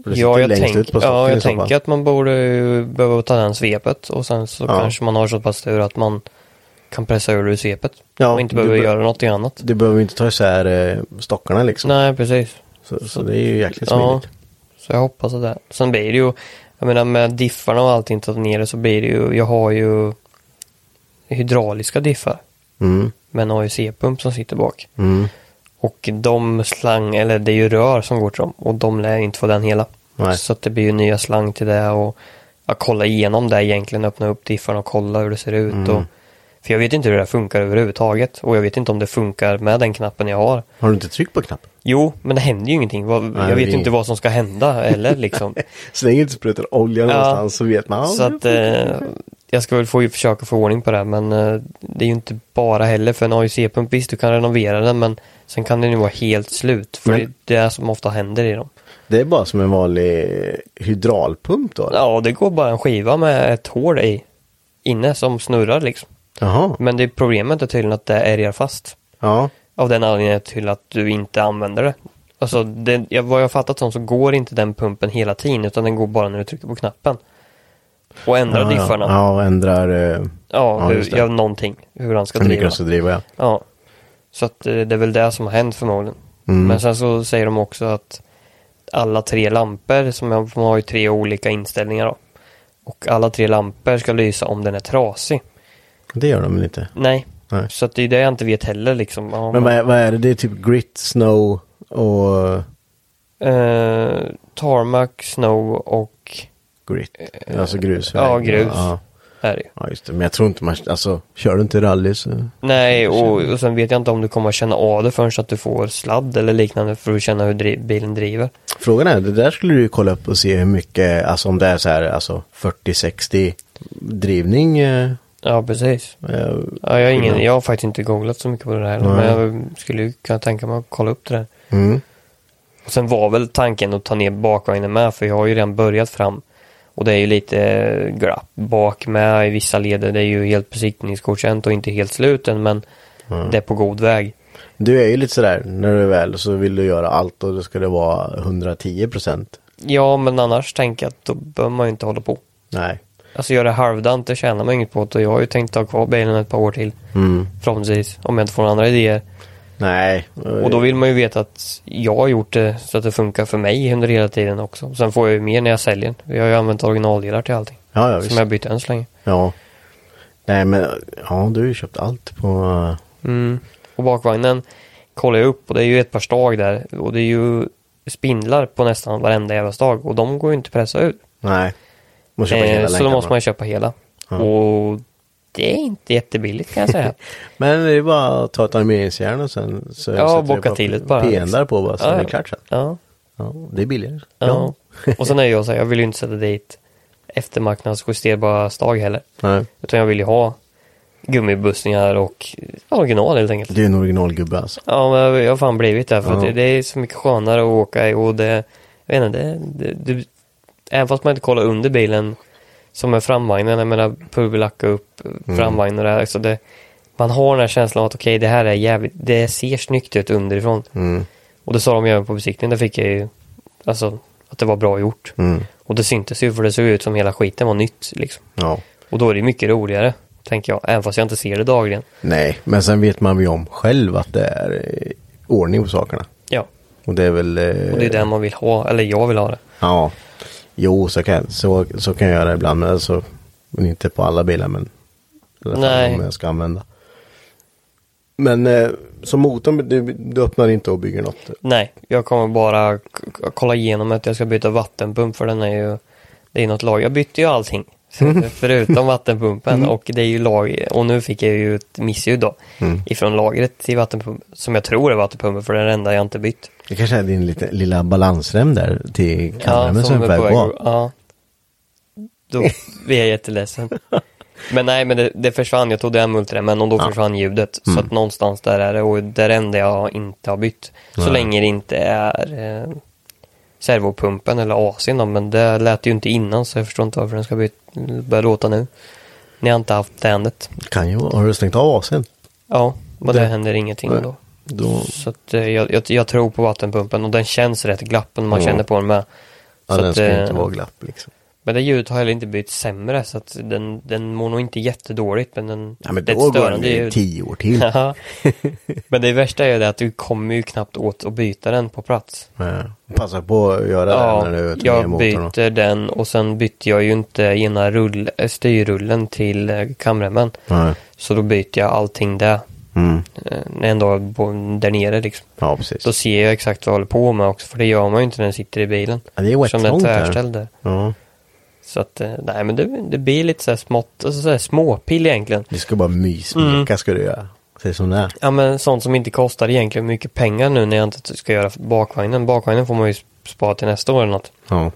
Speaker 2: För det sitter
Speaker 1: Ja,
Speaker 2: ju
Speaker 1: jag,
Speaker 2: längst ut
Speaker 1: tänk,
Speaker 2: på
Speaker 1: ja,
Speaker 2: stocken i
Speaker 1: jag
Speaker 2: så fall.
Speaker 1: tänker att man borde ju behöva ta den svepet och sen så
Speaker 2: Ja.
Speaker 1: kanske man har så pass tur att man kan pressa ur det ur svepet.
Speaker 2: Ja,
Speaker 1: och inte
Speaker 2: du
Speaker 1: behöver
Speaker 2: be-
Speaker 1: göra någonting annat.
Speaker 2: Du behöver ju inte ta isär eh, stockarna liksom.
Speaker 1: Nej, precis.
Speaker 2: Så, så det är ju jäkligt
Speaker 1: Ja,
Speaker 2: smidigt.
Speaker 1: så jag hoppas att det. Sen blir det ju, jag menar med diffarna och allting tagit ner det så blir det ju, jag har ju hydrauliska diffar
Speaker 2: Mm,
Speaker 1: med en AEC-pump som sitter bak.
Speaker 2: mm,
Speaker 1: Och de slang, eller det är ju rör som går till dem och de lär inte få den hela.
Speaker 2: Nej.
Speaker 1: Så att det blir ju nya slang till det och att kolla igenom det egentligen, öppna upp diffarna och kolla hur det ser ut.
Speaker 2: Mm.
Speaker 1: Och, för jag vet inte hur det där funkar överhuvudtaget och jag vet inte om det funkar med den knappen jag har.
Speaker 2: Har du inte tryckt på knappen?
Speaker 1: Jo, men det händer ju ingenting. Vad,
Speaker 2: det
Speaker 1: jag
Speaker 2: blir
Speaker 1: vet inte
Speaker 2: inget.
Speaker 1: vad som ska hända eller liksom.
Speaker 2: Så länge du inte sprutar olja
Speaker 1: Ja.
Speaker 2: någonstans så vet man. ja,
Speaker 1: Så
Speaker 2: det
Speaker 1: att eh, jag ska väl få, försöka få ordning på det här, men eh, det är ju inte bara heller för en AIC-pump. Visst, du kan renovera den men sen kan den ju vara helt slut. För
Speaker 2: Men-
Speaker 1: det det är det som ofta händer i dem.
Speaker 2: Det är bara som en vanlig hydraulpump då? eller?
Speaker 1: Ja, det går bara en skiva med ett hål i inne som snurrar liksom.
Speaker 2: Jaha.
Speaker 1: Men det problemet är tydligen att det ärgar fast.
Speaker 2: Ja.
Speaker 1: Av den anledningen till att du inte använder det. Alltså, det, jag- vad jag har fattat som så går inte den pumpen hela tiden utan den går bara när du trycker på knappen. Och ändrar
Speaker 2: ja, ja.
Speaker 1: diffarna. Ja,
Speaker 2: ja, och ändrar eh, ja, just
Speaker 1: hur,
Speaker 2: det.
Speaker 1: ja, någonting. Hur han ska
Speaker 2: hur mycket
Speaker 1: driva.
Speaker 2: de ska driva. Ja.
Speaker 1: Ja. Så att eh, det är väl det som har hänt förmodligen.
Speaker 2: Mm.
Speaker 1: Men sen så säger de också att alla tre lampor, som jag, man har ju tre olika inställningar då. Och alla tre lampor ska lysa om den är trasig.
Speaker 2: Det gör de väl inte?
Speaker 1: Nej.
Speaker 2: Nej.
Speaker 1: Så att det är det jag inte vet heller liksom. Ja,
Speaker 2: Men vad är, vad är det? Det är typ grit, snow och
Speaker 1: eh, tarmac, snow och
Speaker 2: grit. Alltså grus.
Speaker 1: Eh, ja, grus.
Speaker 2: Ja,
Speaker 1: är det ju.
Speaker 2: ja, just det. Men jag tror inte man, alltså kör du inte rally så.
Speaker 1: Nej, och, och sen vet jag inte om du kommer att känna av det förrän så att du får sladd eller liknande för att känna hur dri- bilen driver.
Speaker 2: Frågan är, det där skulle du ju kolla upp och se hur mycket, alltså om det är så här, alltså 40-60 drivning. Eh,
Speaker 1: Ja, precis.
Speaker 2: eh,
Speaker 1: Ja, jag, har ingen,
Speaker 2: Skillnad.
Speaker 1: jag har faktiskt inte googlat så mycket på det här. Men jag skulle ju kunna tänka mig att kolla upp det där.
Speaker 2: mm.
Speaker 1: Och sen var väl tanken att ta ner bakvagnen med. För jag har ju redan börjat fram. Och det är ju lite eh, glapp bak med i vissa leder. Det är ju helt besiktningsgodkänt och inte helt sluten. Men
Speaker 2: Mm.
Speaker 1: det är på god väg.
Speaker 2: Du är ju lite sådär, när du är väl så vill du göra allt och då ska det vara 110 procent.
Speaker 1: Ja, men annars tänker jag att då behöver man ju inte hålla på.
Speaker 2: Nej.
Speaker 1: Alltså göra halvdant, det tjänar man inget på. Och jag har ju tänkt ta kvar bilen ett par år till.
Speaker 2: Mm.
Speaker 1: Förhoppningsvis, om jag inte får några andra idéer.
Speaker 2: Nej.
Speaker 1: Och då vill man ju veta att jag har gjort det så att det funkar för mig under hela tiden också. Sen får jag ju mer när jag säljer. den. Jag har ju använt originaldelar till allting.
Speaker 2: ja, ja, visst.
Speaker 1: som jag bytt än så länge.
Speaker 2: Ja. Nej men, ja du har ju köpt allt på... eh,
Speaker 1: Mm. Och bakvagnen kollar jag upp och det är ju ett par stag där. Och det är ju spindlar på nästan varenda jävla stag. Och de går ju inte att pressa ut.
Speaker 2: Nej. Man köper hela
Speaker 1: Eh, så då
Speaker 2: länkarna.
Speaker 1: måste man ju köpa hela. Och det är inte jättebilligt kan jag säga.
Speaker 2: Men det är bara att ta ett armeringsjärn och sen så
Speaker 1: Ja,
Speaker 2: sätter
Speaker 1: bocka
Speaker 2: du på
Speaker 1: till ett bara.
Speaker 2: PN'ar på bara så
Speaker 1: Ja,
Speaker 2: är det
Speaker 1: ja.
Speaker 2: klart sen.
Speaker 1: ja.
Speaker 2: Ja, det är billigare.
Speaker 1: ja. Och sen är jag så här, jag vill ju inte sätta dit eftermarknadsjusterbara stag heller.
Speaker 2: Nej.
Speaker 1: Utan jag vill ju ha gummibussningar och original helt enkelt.
Speaker 2: Du är en originalgubbe alltså.
Speaker 1: Ja, men jag- jag har fan blivit där för att
Speaker 2: Ja.
Speaker 1: det, det är så mycket skönare att åka i och det, jag vet inte, det, det, du, även fast man inte kollar under bilen som med framvagnen, jag menar pulverlacka upp framvagnen och det, här, så det man har den här känslan av att okej det här är jävligt, det ser snyggt ut underifrån. Och det sa de ju även på besiktningen, där fick jag ju,
Speaker 2: Mm.
Speaker 1: alltså att det var bra gjort. Och det syntes ju för det såg ut som hela skiten var nytt liksom.
Speaker 2: Ja.
Speaker 1: Och då är det mycket roligare, tänker jag. Även fast jag inte ser det dagligen.
Speaker 2: Nej, men sen vet man ju om själv att det är eh, ordning på sakerna.
Speaker 1: Ja,
Speaker 2: Och det är väl... eh,
Speaker 1: och det är det man vill ha. Eller jag vill ha det.
Speaker 2: Ja. Jo, så kan, så, så kan jag göra ibland. Men, alltså, men inte på alla bilar, men... I alla fall
Speaker 1: Nej.
Speaker 2: om jag ska använda. Men eh, som motorn, du, du öppnar inte och bygger något.
Speaker 1: Nej, jag kommer bara k- k- kolla igenom att jag ska byta vattenpump för den är ju, det är något lag. Jag bytte ju allting. Förutom vattenpumpen och det är ju lag, och nu fick jag ju ett missljud då. Ifrån lagret till vattenpumpen, som jag tror är vattenpumpen för det är den enda jag inte bytt.
Speaker 2: Det kanske är din lite, lilla balansrem där till kameramen
Speaker 1: som
Speaker 2: som är på väg
Speaker 1: att-
Speaker 2: på.
Speaker 1: Ja. Då blir jag jätteledsen. Men nej, men det, det försvann. Jag tog det här multiremmen och då försvann ljudet. Så
Speaker 2: Mm.
Speaker 1: att någonstans där är det och det är det enda jag inte har bytt. Så länge det inte är eh, servopumpen eller AC'n då, men det lät ju inte innan så jag förstår inte varför den ska byt, börja låta nu. Ni har inte haft tändet.
Speaker 2: Kan ju vara. Har du stängt av AC'n?
Speaker 1: Ja, men det,
Speaker 2: Det-
Speaker 1: händer ingenting
Speaker 2: Nej.
Speaker 1: då.
Speaker 2: Då,
Speaker 1: Så att, eh, jag, jag, jag tror på vattenpumpen och den känns rätt glappen man
Speaker 2: Ja.
Speaker 1: känner på den med.
Speaker 2: ja,
Speaker 1: Så
Speaker 2: den
Speaker 1: att,
Speaker 2: ska ju
Speaker 1: eh,
Speaker 2: inte vara glapp liksom.
Speaker 1: Men det ljudet har heller inte blivit sämre så att den, den mår nog inte jättedåligt men den...
Speaker 2: Ja, men
Speaker 1: det är
Speaker 2: då
Speaker 1: ett
Speaker 2: går
Speaker 1: störande
Speaker 2: den ju
Speaker 1: ljud.
Speaker 2: tio år till.
Speaker 1: Ja. men det värsta är ju det att du kommer ju knappt åt att byta den på plats.
Speaker 2: Ja, Eh, Passa på att göra det när du tvingar
Speaker 1: jag
Speaker 2: motorn. och-
Speaker 1: byter den och sen bytte jag ju inte ena rull, eh, styrrullen till eh, kamremmen.
Speaker 2: Nej.
Speaker 1: Så då byter jag allting där.
Speaker 2: Mm.
Speaker 1: Eh, när jag ändå är på- där nere liksom.
Speaker 2: Ja, precis.
Speaker 1: Då ser jag exakt vad jag håller på med också för det gör man ju inte när den sitter i bilen.
Speaker 2: Ja, det är
Speaker 1: Som
Speaker 2: wet
Speaker 1: den
Speaker 2: trångt
Speaker 1: är
Speaker 2: där.
Speaker 1: tvärställd där.
Speaker 2: Ja.
Speaker 1: Så att, eh, nej men det, det blir lite så här smått, alltså så här småpill egentligen.
Speaker 2: Du ska bara mysmeka
Speaker 1: Mm.
Speaker 2: ska du göra. Säg som det är.
Speaker 1: Ja men sånt som inte kostar egentligen mycket pengar nu när jag inte ska göra bakvagnen. Bakvagnen får man ju spara till nästa år eller något.
Speaker 2: Ja.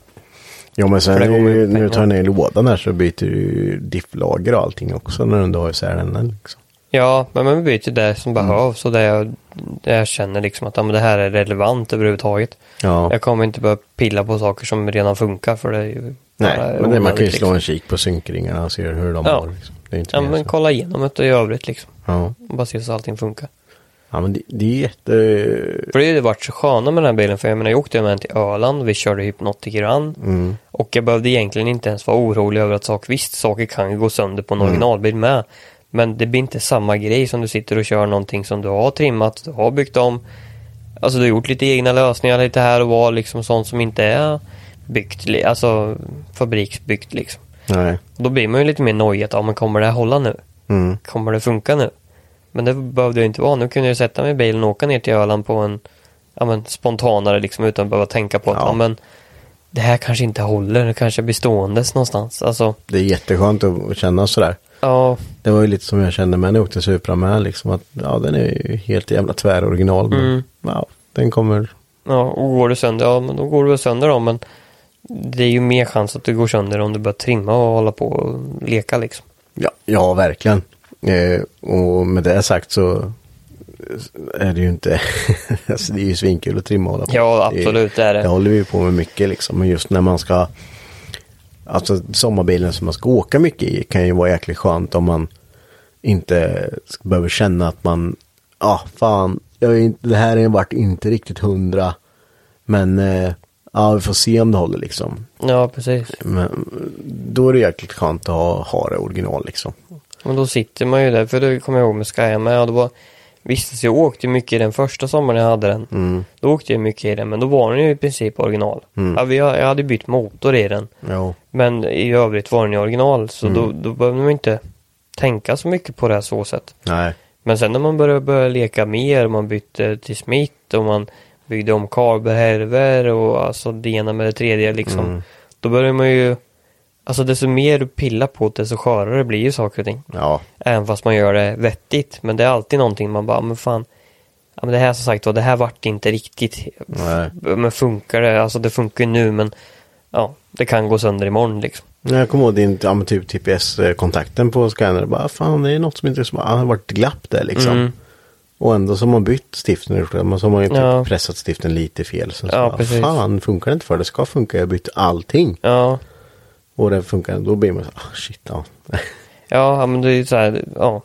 Speaker 2: Ja men sen
Speaker 1: För det går
Speaker 2: är
Speaker 1: ju
Speaker 2: ju, när du
Speaker 1: pengar.
Speaker 2: tar ner lådan här så byter du ju difflager och allting också när du ändå har isär den. Liksom.
Speaker 1: Ja, men man byter det som
Speaker 2: Mm.
Speaker 1: behövs och det jag, det jag känner liksom att ja, men det här är relevant överhuvudtaget.
Speaker 2: Ja.
Speaker 1: Jag kommer inte behöva pilla på saker som redan funkar för det är ju
Speaker 2: Nej,
Speaker 1: bara
Speaker 2: men det, man
Speaker 1: onödigt,
Speaker 2: kan ju
Speaker 1: liksom.
Speaker 2: slå en kik på synkringarna och se hur de
Speaker 1: Ja.
Speaker 2: mår. Liksom. Det är inte
Speaker 1: Ja,
Speaker 2: mer
Speaker 1: men
Speaker 2: så.
Speaker 1: kolla igenom det i övrigt liksom.
Speaker 2: ja.
Speaker 1: Och bara se så allting funkar.
Speaker 2: ja, men det, det är jätte...
Speaker 1: För det har ju varit så sköna med den här bilen, för jag menar jag åkte med den till Öland, vi körde Hypnotic Run och jag behövde egentligen inte ens vara orolig över att saker, visst saker kan ju gå sönder på en originalbil med, men det blir inte samma grej som du sitter och kör någonting som du har trimmat, du har byggt om, alltså du har gjort lite egna lösningar lite här och var liksom sånt som inte är byggt, li- alltså fabriksbyggt liksom.
Speaker 2: Nej.
Speaker 1: Då blir man ju lite mer nojig att, ja men kommer det här hålla nu?
Speaker 2: Mm.
Speaker 1: Kommer det funka nu? Men det behövde jag inte vara. Nu kunde jag sätta mig i bilen och åka ner till Öland på en ja, men, spontanare liksom utan att behöva tänka på att
Speaker 2: Ja.
Speaker 1: ja. men, det här kanske inte håller, det kanske blir ståendes någonstans. Alltså,
Speaker 2: Det är jätteskönt att känna sådär.
Speaker 1: ja,
Speaker 2: Det var ju lite som jag kände med när jag åkte Supra med liksom att ja den är ju helt jävla tväroriginal men
Speaker 1: Mm.
Speaker 2: ja, den kommer
Speaker 1: ja, och går det sönder, ja men då går det väl sönder då. Men det är ju mer chans att det går sönder om du börjar trimma och hålla på och leka liksom.
Speaker 2: Ja, ja verkligen. Eh, och med det sagt så är det ju inte, alltså det är ju svinkul att trimma och hålla på.
Speaker 1: Ja, absolut, det är det.
Speaker 2: Det håller vi ju på med mycket liksom, men just när man ska, alltså sommarbilen som man ska åka mycket i kan ju vara jäkligt skönt om man inte ska- behöver känna att man, ja ah, fan, jag är inte, det här är vart inte riktigt hundra, men eh, ja vi får se om det håller liksom.
Speaker 1: Ja, precis.
Speaker 2: Men då är det jäkligt skönt att ha, ha det original liksom.
Speaker 1: Men då sitter man ju där, för det kommer jag ihåg med Sky med. Och det var, visst, så jag åkte ju mycket i den första sommaren jag hade den. Då åkte jag mycket i den, men då var den ju i princip original. Ja, vi, har- jag hade bytt motor i den,
Speaker 2: Jo.
Speaker 1: men i övrigt var den ju original. Så då, då behövde man inte tänka så mycket på det här så sätt.
Speaker 2: Nej.
Speaker 1: Men sen när man började, började leka mer, och man bytte till Smith och man byggde om karberhärvor och alltså det ena med det tredje liksom. Då börjar man ju, alltså desto mer du pillar på det, desto skörare blir ju saker och ting.
Speaker 2: Ja.
Speaker 1: Även fast man gör det vettigt. Men det är alltid någonting man bara, men fan. Ja, men det här som sagt var, det här vart inte riktigt.
Speaker 2: Nej.
Speaker 1: Men funkar det? Alltså det funkar ju nu men ja, det kan gå sönder imorgon liksom.
Speaker 2: När jag kommer ihåg din ja, men typ TPS-kontakten på Skyner. Bara fan det är något som inte som har varit glapp där liksom.
Speaker 1: Mm.
Speaker 2: Och ändå så har man bytt stiften. och gjort det, Men så har man ju typ
Speaker 1: Ja.
Speaker 2: pressat stiften lite fel. Så,
Speaker 1: Ja,
Speaker 2: så
Speaker 1: precis.
Speaker 2: bara, fan funkar det inte för det ska funka. Jag har bytt allting.
Speaker 1: Ja,
Speaker 2: Och det funkar. Då blir man så ah shit ja.
Speaker 1: ja, ja men det är ju så här, ja.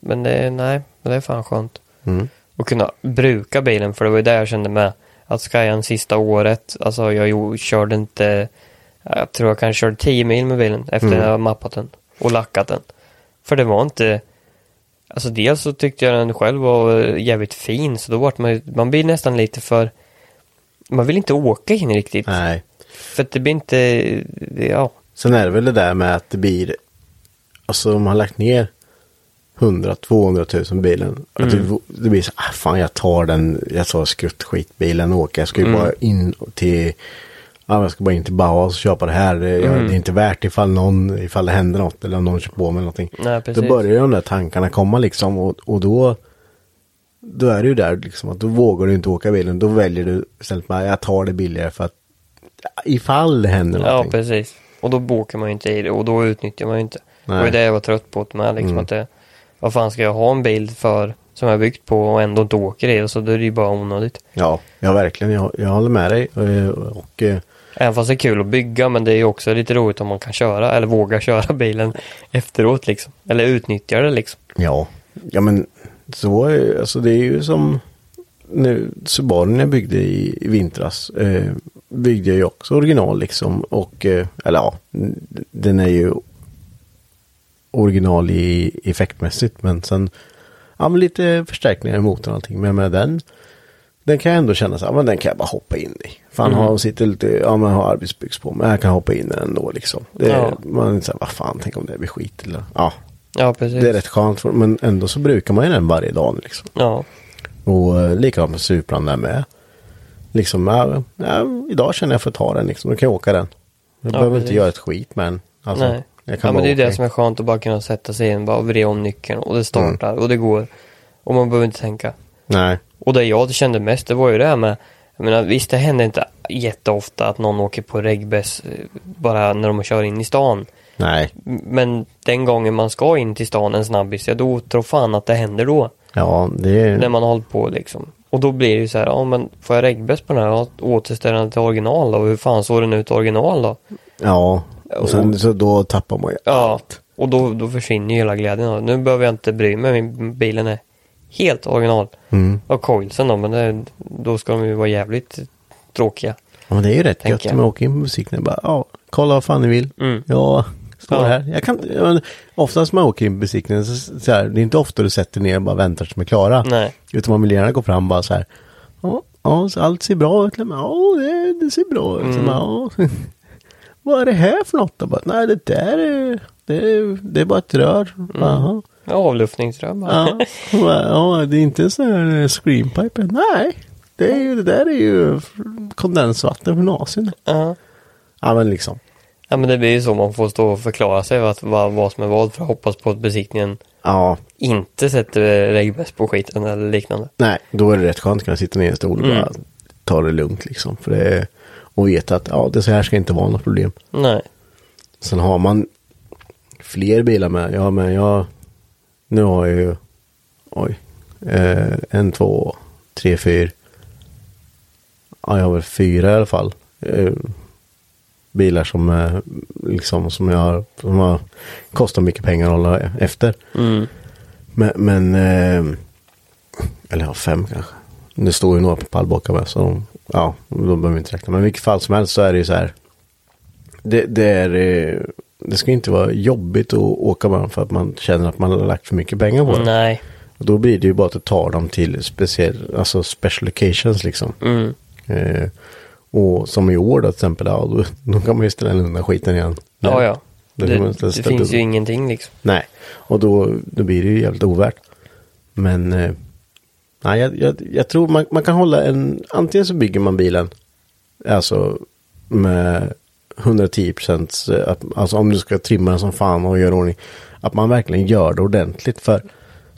Speaker 1: Men det är, nej, men det är fan skönt.
Speaker 2: Mm.
Speaker 1: Och kunna bruka bilen, för det var ju det jag kände med. Att Skyan sista året,
Speaker 2: Mm.
Speaker 1: alltså jag jo, körde inte, jag tror jag kanske körde 10 mil med bilen efter jag mappat den. och lackat den. För det var inte... Alltså dels så tyckte jag den själv var eh, jävligt fin så då vart man ju- Man blir nästan lite för... Man vill inte åka in riktigt.
Speaker 2: Nej.
Speaker 1: För att det blir inte... det- Ja.
Speaker 2: Sen är det väl det där med att det blir, alltså om man har lagt ner 100-200 000 bilen. Att
Speaker 1: Mm.
Speaker 2: det, v- det blir så, ah, fan jag tar den, jag tar skruttskitbilen och åker. Jag ska ju
Speaker 1: Mm.
Speaker 2: bara in till, ja, jag ska bara in till Bauhaus och köpa det här. Det, jag-
Speaker 1: Mm.
Speaker 2: det är inte värt ifall någon, ifall det händer något eller om någon kör på mig eller någonting.
Speaker 1: Nej,
Speaker 2: då
Speaker 1: precis.
Speaker 2: börjar ju de där tankarna komma liksom och, och då, då är det ju där liksom att då vågar du inte åka bilen. Då väljer du istället bara, jag tar det billigare för att ifall det händer
Speaker 1: Ja,
Speaker 2: någonting.
Speaker 1: precis. Och då bokar man ju inte i det och då utnyttjar man ju inte. Det var
Speaker 2: Nej. Mm.
Speaker 1: ju det jag var trött på med liksom att det, Vad fan ska jag ha en bil för som jag har byggt på och ändå inte åker i det så då är det ju bara onödigt.
Speaker 2: Ja, ja verkligen. Jag, jag håller med dig. Eh, Och, eh,
Speaker 1: Även fast det är kul att bygga men det är ju också lite roligt om man kan köra eller vågar köra bilen efteråt liksom. Eller utnyttja det liksom.
Speaker 2: ja. ja, men så eh, alltså det är ju som nu Subarun jag byggde i, i vintras. Eh, byggde jag ju också original liksom. Och, eh, eller ja, n- den är ju original i effektmässigt. Men sen, ja men lite förstärkningar i motorn och allting. Men med den, den kan jag ändå känna så här, men den kan jag bara hoppa in i. Fan, har, sitter lite, ja men har arbetsbyx på mig, jag kan hoppa in i den ändå liksom. Det,
Speaker 1: Ja.
Speaker 2: Man är så här, vad fan, tänk om det blir skit eller, ja.
Speaker 1: Ja, precis.
Speaker 2: Det är rätt skönt, för- men ändå så brukar man ju den varje dag liksom.
Speaker 1: Ja,
Speaker 2: Och eh, likadant med Supran där med. Liksom, ja, ja, idag känner jag för att ta den liksom, då kan jag åka den. Jag
Speaker 1: Ja,
Speaker 2: behöver inte
Speaker 1: precis.
Speaker 2: göra ett skit med den. Alltså,
Speaker 1: nej.
Speaker 2: Jag kan
Speaker 1: Ja, men
Speaker 2: bara
Speaker 1: det är
Speaker 2: åka
Speaker 1: det
Speaker 2: i.
Speaker 1: som är skönt att bara kunna sätta sig in, bara vrida om nyckeln och det startar
Speaker 2: Mm.
Speaker 1: och det går. Och man behöver inte tänka.
Speaker 2: Nej,
Speaker 1: Och det jag kände mest, det var ju det här med, jag menar visst det händer inte jätteofta att någon åker på regbäs eh, bara när de kör in i stan.
Speaker 2: nej,
Speaker 1: M- Men den gången man ska in till stan en snabbis, ja då tror fan att det händer då.
Speaker 2: ja det är...
Speaker 1: När man har hållit på liksom. Och då blir det ju så här, ja men får jag regbäs på den här, Ja, återställer den till original då? Hur fan såg den ut original då?
Speaker 2: Ja, och sen
Speaker 1: Och-
Speaker 2: så då tappar man ju
Speaker 1: Ja,
Speaker 2: allt.
Speaker 1: och då, då försvinner ju hela glädjen. av det. Nu behöver jag inte bry mig, min bilen är helt original.
Speaker 2: Mm.
Speaker 1: Och coilsen då, men det, då ska de ju vara jävligt tråkiga.
Speaker 2: Ja, men det är ju rätt
Speaker 1: Tänker
Speaker 2: gött när
Speaker 1: jag.
Speaker 2: man åker in på besiktningen. Bara, ja, kolla vad fan ni vill.
Speaker 1: Mm.
Speaker 2: Ja, står
Speaker 1: Ja.
Speaker 2: här. Jag kan, ja, men oftast när man åker in på besiktningen, så, så här, det är inte ofta du sätter ner och bara väntar tills de är klara.
Speaker 1: Nej.
Speaker 2: Utan man vill gärna gå fram bara så här. Ja, ja så allt ser bra ut. Eller, Ja, det, det ser bra ut. Så man, Ja. Vad är det här för något? Jag Bara, Nej, det där är, det är, det är bara ett rör. Jaha.
Speaker 1: Ja, Avluftningsrör bara.
Speaker 2: Ja, ja, det är inte en sån här eh, screenpipe. Nej, det, är ju, det där är ju kondensvatten från Asien.
Speaker 1: Ja.
Speaker 2: Ja, men liksom.
Speaker 1: ja, men det blir ju så man får stå och förklara sig vad, vad, vad som är vad för att hoppas på att besiktningen
Speaker 2: Ja,
Speaker 1: inte sätter regbäst på skiten eller liknande.
Speaker 2: nej, då är det rätt skönt att kunna sitta ner i en stol och bara ta det lugnt liksom. För det, och veta att ja, det så här ska inte vara något problem.
Speaker 1: Nej.
Speaker 2: Sen har man fler bilar med. Ja, men jag... Nu har jag ju... Oj. Eh, en, två, tre, fyra. Ja, jag har väl fyra i alla fall. Eh, bilar som, eh, liksom, som, jag, har- som har kostat mycket pengar att hålla efter. Men... men eh, eller ja, fem kanske. Det står ju några på pallbockar med. Så de, ja, då behöver vi inte räkna. Men i vilket fall som helst så är det ju så här det, det, är, eh, det ska inte vara jobbigt att åka med dem för att man känner att man har lagt för mycket pengar på det.
Speaker 1: Nej.
Speaker 2: Och då blir det ju bara att du tar dem till speciell, alltså special occasions liksom.
Speaker 1: Mm.
Speaker 2: Eh, och som i år då till exempel, ja, då, då kan man ju ställa undan skiten igen.
Speaker 1: Ja, ja.
Speaker 2: Då
Speaker 1: Det,
Speaker 2: kan man
Speaker 1: det,
Speaker 2: ställa- ställa
Speaker 1: finns ju
Speaker 2: undan.
Speaker 1: ingenting liksom.
Speaker 2: Nej, och då, då blir det ju jävligt ovärt. Men eh, nej, jag, jag, jag tror man, man kan hålla en, antingen så bygger man bilen, alltså med 110 procent, alltså om du ska trimma den som fan och göra ordning, att man verkligen gör det ordentligt. För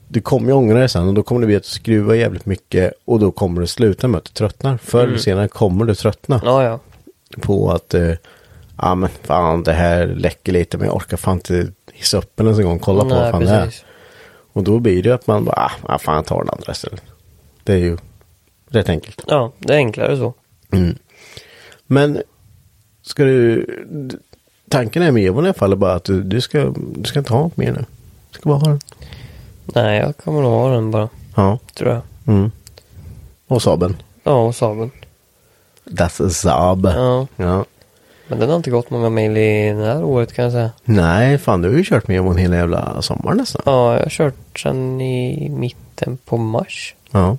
Speaker 2: du kommer ju ångra dig sen och då kommer det bli att du skruvar jävligt mycket och då kommer det sluta med att du tröttnar. Förr eller senare kommer du tröttna
Speaker 1: Ja, ja.
Speaker 2: på att eh, ja men fan det här läcker lite men jag orkar fan inte hissa upp den ens en gång kolla på vad
Speaker 1: Nej,
Speaker 2: fan det är. Och då blir det ju att man bara, ah, ah, fan jag tar den andra istället. Det är ju rätt enkelt.
Speaker 1: Ja, det är enklare så.
Speaker 2: Men ska du, d- tanken är med Evon i alla fall är bara att du, du, ska, du ska inte ha något mer nu. Du ska bara ha den.
Speaker 1: Nej, jag kommer nog ha den bara,
Speaker 2: Ja.
Speaker 1: tror jag.
Speaker 2: Mm. Och Saben.
Speaker 1: Ja, och Saaben.
Speaker 2: Das Saab.
Speaker 1: Ja.
Speaker 2: ja.
Speaker 1: Men den har inte gått många mil i det här året kan jag säga.
Speaker 2: Nej, fan du har ju kört med honom hela jävla sommaren nästan.
Speaker 1: Ja, jag har kört sedan i mitten på mars.
Speaker 2: Ja.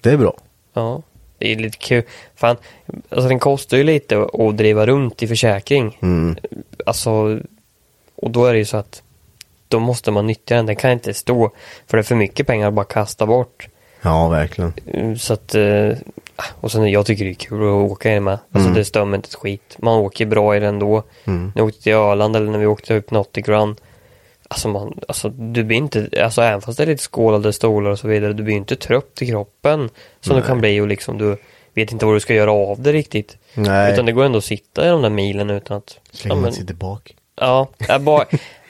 Speaker 2: Det är bra.
Speaker 1: Ja, det är lite kul. Fan, alltså den kostar ju lite att driva runt i försäkring.
Speaker 2: Mm.
Speaker 1: Alltså, och då är det ju så att då måste man nyttja den. Den kan inte stå, för det är för mycket pengar att bara kasta bort.
Speaker 2: Ja, verkligen.
Speaker 1: Eh, Så att, eh, och sen jag tycker det är kul att åka i den med.
Speaker 2: Mm.
Speaker 1: Alltså det stör mig inte ett skit. Man åker bra i den då. När jag åkte till Öland eller när vi åkte upp Nottic Run. Alltså man, alltså du blir inte, alltså även fast det är lite skålade stolar och så vidare, du blir ju inte trött i kroppen. Som du kan bli och liksom du vet inte vad du ska göra av det riktigt.
Speaker 2: Nej.
Speaker 1: Utan det går ändå att sitta i de där milen utan att...
Speaker 2: Slänger
Speaker 1: Ja,
Speaker 2: man
Speaker 1: men-
Speaker 2: sig tillbaka.
Speaker 1: Ja, jag bara,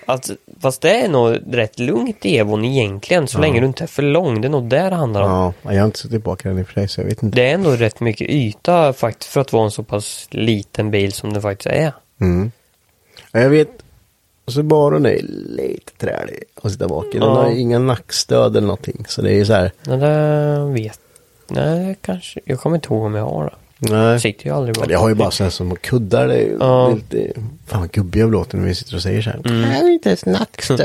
Speaker 1: att, fast det är nog rätt lugnt i Evon egentligen, så länge du inte är för lång. Det är nog där det handlar om.
Speaker 2: Ja, jag har inte suttit tillbaka den i och för sig så jag vet inte.
Speaker 1: Det är ändå rätt mycket yta faktiskt för att vara en så pass liten bil som det faktiskt är.
Speaker 2: Mm. Ja, jag vet. Subarun är lite trälig att sitta bak i. Den
Speaker 1: Ja.
Speaker 2: har ju inga nackstöd eller någonting. Så det är ju så här.
Speaker 1: Men det vet... Nej, kanske... Jag kommer inte ihåg om jag har det.
Speaker 2: Nej.
Speaker 1: Jag sitter ju aldrig
Speaker 2: Men jag har ju bara sådana som kuddar. Det är ju
Speaker 1: Ja. Mm.
Speaker 2: lite, fan vad gubbiga jag låter när vi sitter och säger så här. Jag har inte ens nackstöd.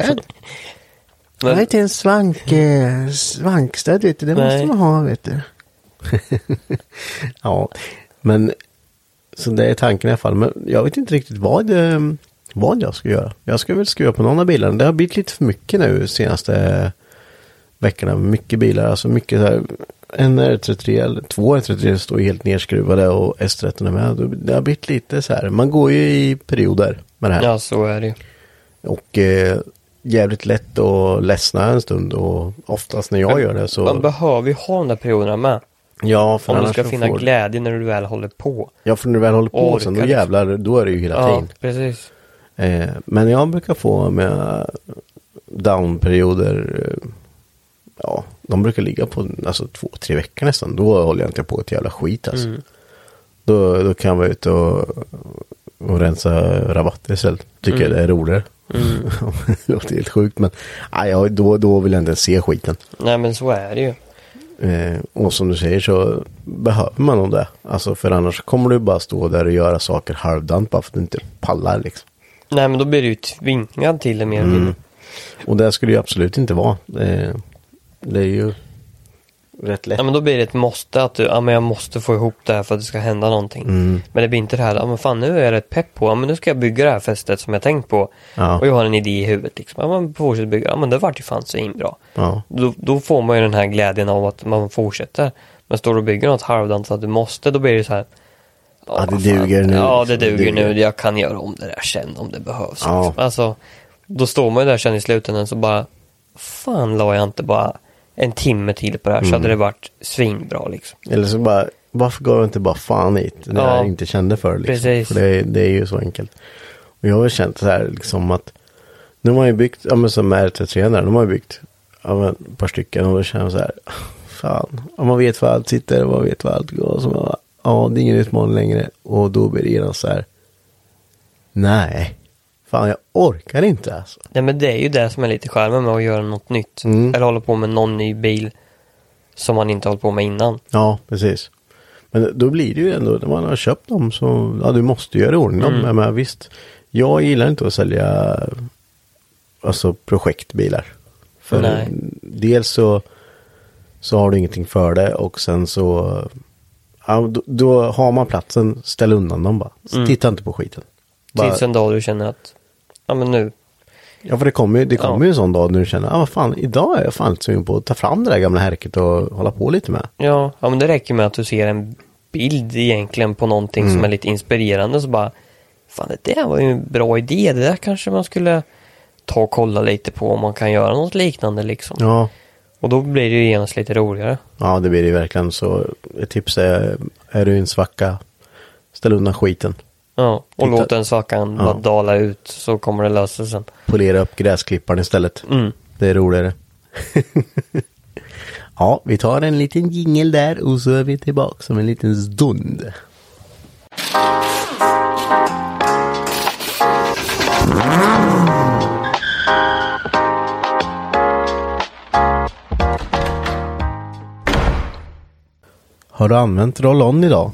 Speaker 2: Jag har
Speaker 1: Men,
Speaker 2: inte ens svank, eh, svankstöd vet du. Det måste
Speaker 1: Nej.
Speaker 2: man ha vet du. ja, men så det är tanken i alla fall. Men jag vet inte riktigt vad, eh, vad jag ska göra. Jag ska väl skruva på någon av bilarna. Det har blivit lite för mycket nu senaste veckorna. Mycket bilar, alltså mycket så här. En R33 eller två R33 står ju helt nedskruvade och S13 är med. Det har blivit lite så här. Man går ju i perioder med det här.
Speaker 1: ja, så är det ju.
Speaker 2: Och eh, jävligt lätt att ledsna en stund och oftast när jag gör det
Speaker 1: Man
Speaker 2: så...
Speaker 1: behöver ju ha de där perioderna med.
Speaker 2: Ja, för
Speaker 1: Om du
Speaker 2: annars
Speaker 1: ska
Speaker 2: så
Speaker 1: finna
Speaker 2: får,
Speaker 1: glädje när du väl håller på.
Speaker 2: Ja, för när du väl håller på
Speaker 1: Orkar
Speaker 2: sen, då
Speaker 1: liksom.
Speaker 2: jävlar, då är det ju hela
Speaker 1: Ja,
Speaker 2: tiden.
Speaker 1: precis.
Speaker 2: Eh, men jag brukar få med down-perioder, eh, ja, de brukar ligga på alltså två, tre veckor nästan. Då håller jag inte på ett jävla skit alltså. Då, då kan jag vara ute och, och rensa rabatter istället. Tycker jag det är roligare. det låter helt sjukt men nej, jag- då, då vill jag inte ens se skiten.
Speaker 1: Nej, men så är det ju.
Speaker 2: Eh, och som du säger så behöver man nog det. Alltså för annars kommer du bara stå där och göra saker halvdant bara för att du inte pallar liksom.
Speaker 1: Nej, men då blir du ju tvingad till det mer
Speaker 2: Mm.
Speaker 1: eller mindre.
Speaker 2: Och det skulle ju absolut inte vara. Eh, det är ju rätt lätt.
Speaker 1: Ja men då blir det ett måste att du, ja men jag måste få ihop det här för att det ska hända någonting. Men det blir inte det här, ja men fan nu är jag rätt pepp på, ja men nu ska jag bygga det här fästet som jag tänkt på.
Speaker 2: Ja.
Speaker 1: Och jag har en idé i huvudet liksom, ja men fortsätt bygga, ja men det vart ju fan så himla bra.
Speaker 2: Ja.
Speaker 1: Då, då får man ju den här glädjen av att man fortsätter. Men står du och bygger något halvdant så att du måste, då blir det så här.
Speaker 2: Ja, det
Speaker 1: vad fan.
Speaker 2: duger nu,
Speaker 1: Ja det
Speaker 2: liksom. Det
Speaker 1: duger, nu,
Speaker 2: duger.
Speaker 1: jag kan göra om det där sen om det behövs.
Speaker 2: Ja.
Speaker 1: liksom. Alltså, då står man ju där sen i slutändan så bara, fan la jag inte bara en timme till på det här så
Speaker 2: Mm.
Speaker 1: hade det varit svinbra liksom.
Speaker 2: Eller så bara, varför går jag inte bara fan hit när
Speaker 1: Ja.
Speaker 2: jag inte kände för det, liksom.
Speaker 1: Precis.
Speaker 2: För det, det är ju så enkelt. Och jag har väl känt så här liksom att nu har man ju byggt, ja men som R33 där, de har ju byggt ja, men, ett par stycken och då känner jag så här, fan, ja, man vet var allt sitter och man vet var allt går. Och så bara, ja det är ingen utmaning längre och då blir det genast så här, nej, fan jag orkar inte alltså.
Speaker 1: Nej men det är ju det som är lite charmen med att göra något nytt.
Speaker 2: Mm.
Speaker 1: Eller hålla på med någon ny bil som man inte hållit på med innan.
Speaker 2: Ja, precis. Men då blir det ju ändå, när man har köpt dem så, ja du måste göra i ordning dem. Mm. Men visst, jag gillar inte att sälja alltså projektbilar. För
Speaker 1: Nej.
Speaker 2: dels så, så har du ingenting för det och sen så, ja, då, då har man platsen, ställ undan dem bara. Titta inte på skiten. Bara,
Speaker 1: Mm. Tills en dag du känner att, ja men nu,
Speaker 2: ja, för det kommer ju det kommer
Speaker 1: Ja.
Speaker 2: ju en sån dag när du känner, ja ah, vad fan, idag är jag fan inte sugen på att ta fram det där gamla härket och hålla på lite med.
Speaker 1: ja, ja men det räcker med att du ser en bild egentligen på någonting
Speaker 2: Mm.
Speaker 1: som är lite inspirerande så bara, fan det där var ju en bra idé, det där kanske man skulle ta och kolla lite på om man kan göra något liknande liksom.
Speaker 2: Ja,
Speaker 1: Och då blir det ju genast lite roligare.
Speaker 2: Ja, det blir det verkligen. Så ett tips är, är du i en svacka, ställ undan skiten.
Speaker 1: Ja,
Speaker 2: Titta-
Speaker 1: och låt den sakan bara
Speaker 2: Ja.
Speaker 1: dala ut så kommer det lösa sig sen.
Speaker 2: Polera upp gräsklipparen istället.
Speaker 1: Mm.
Speaker 2: Det är roligare. ja, vi tar en liten jingel där och så är vi tillbaka om en liten stund. Har du använt roll-on idag?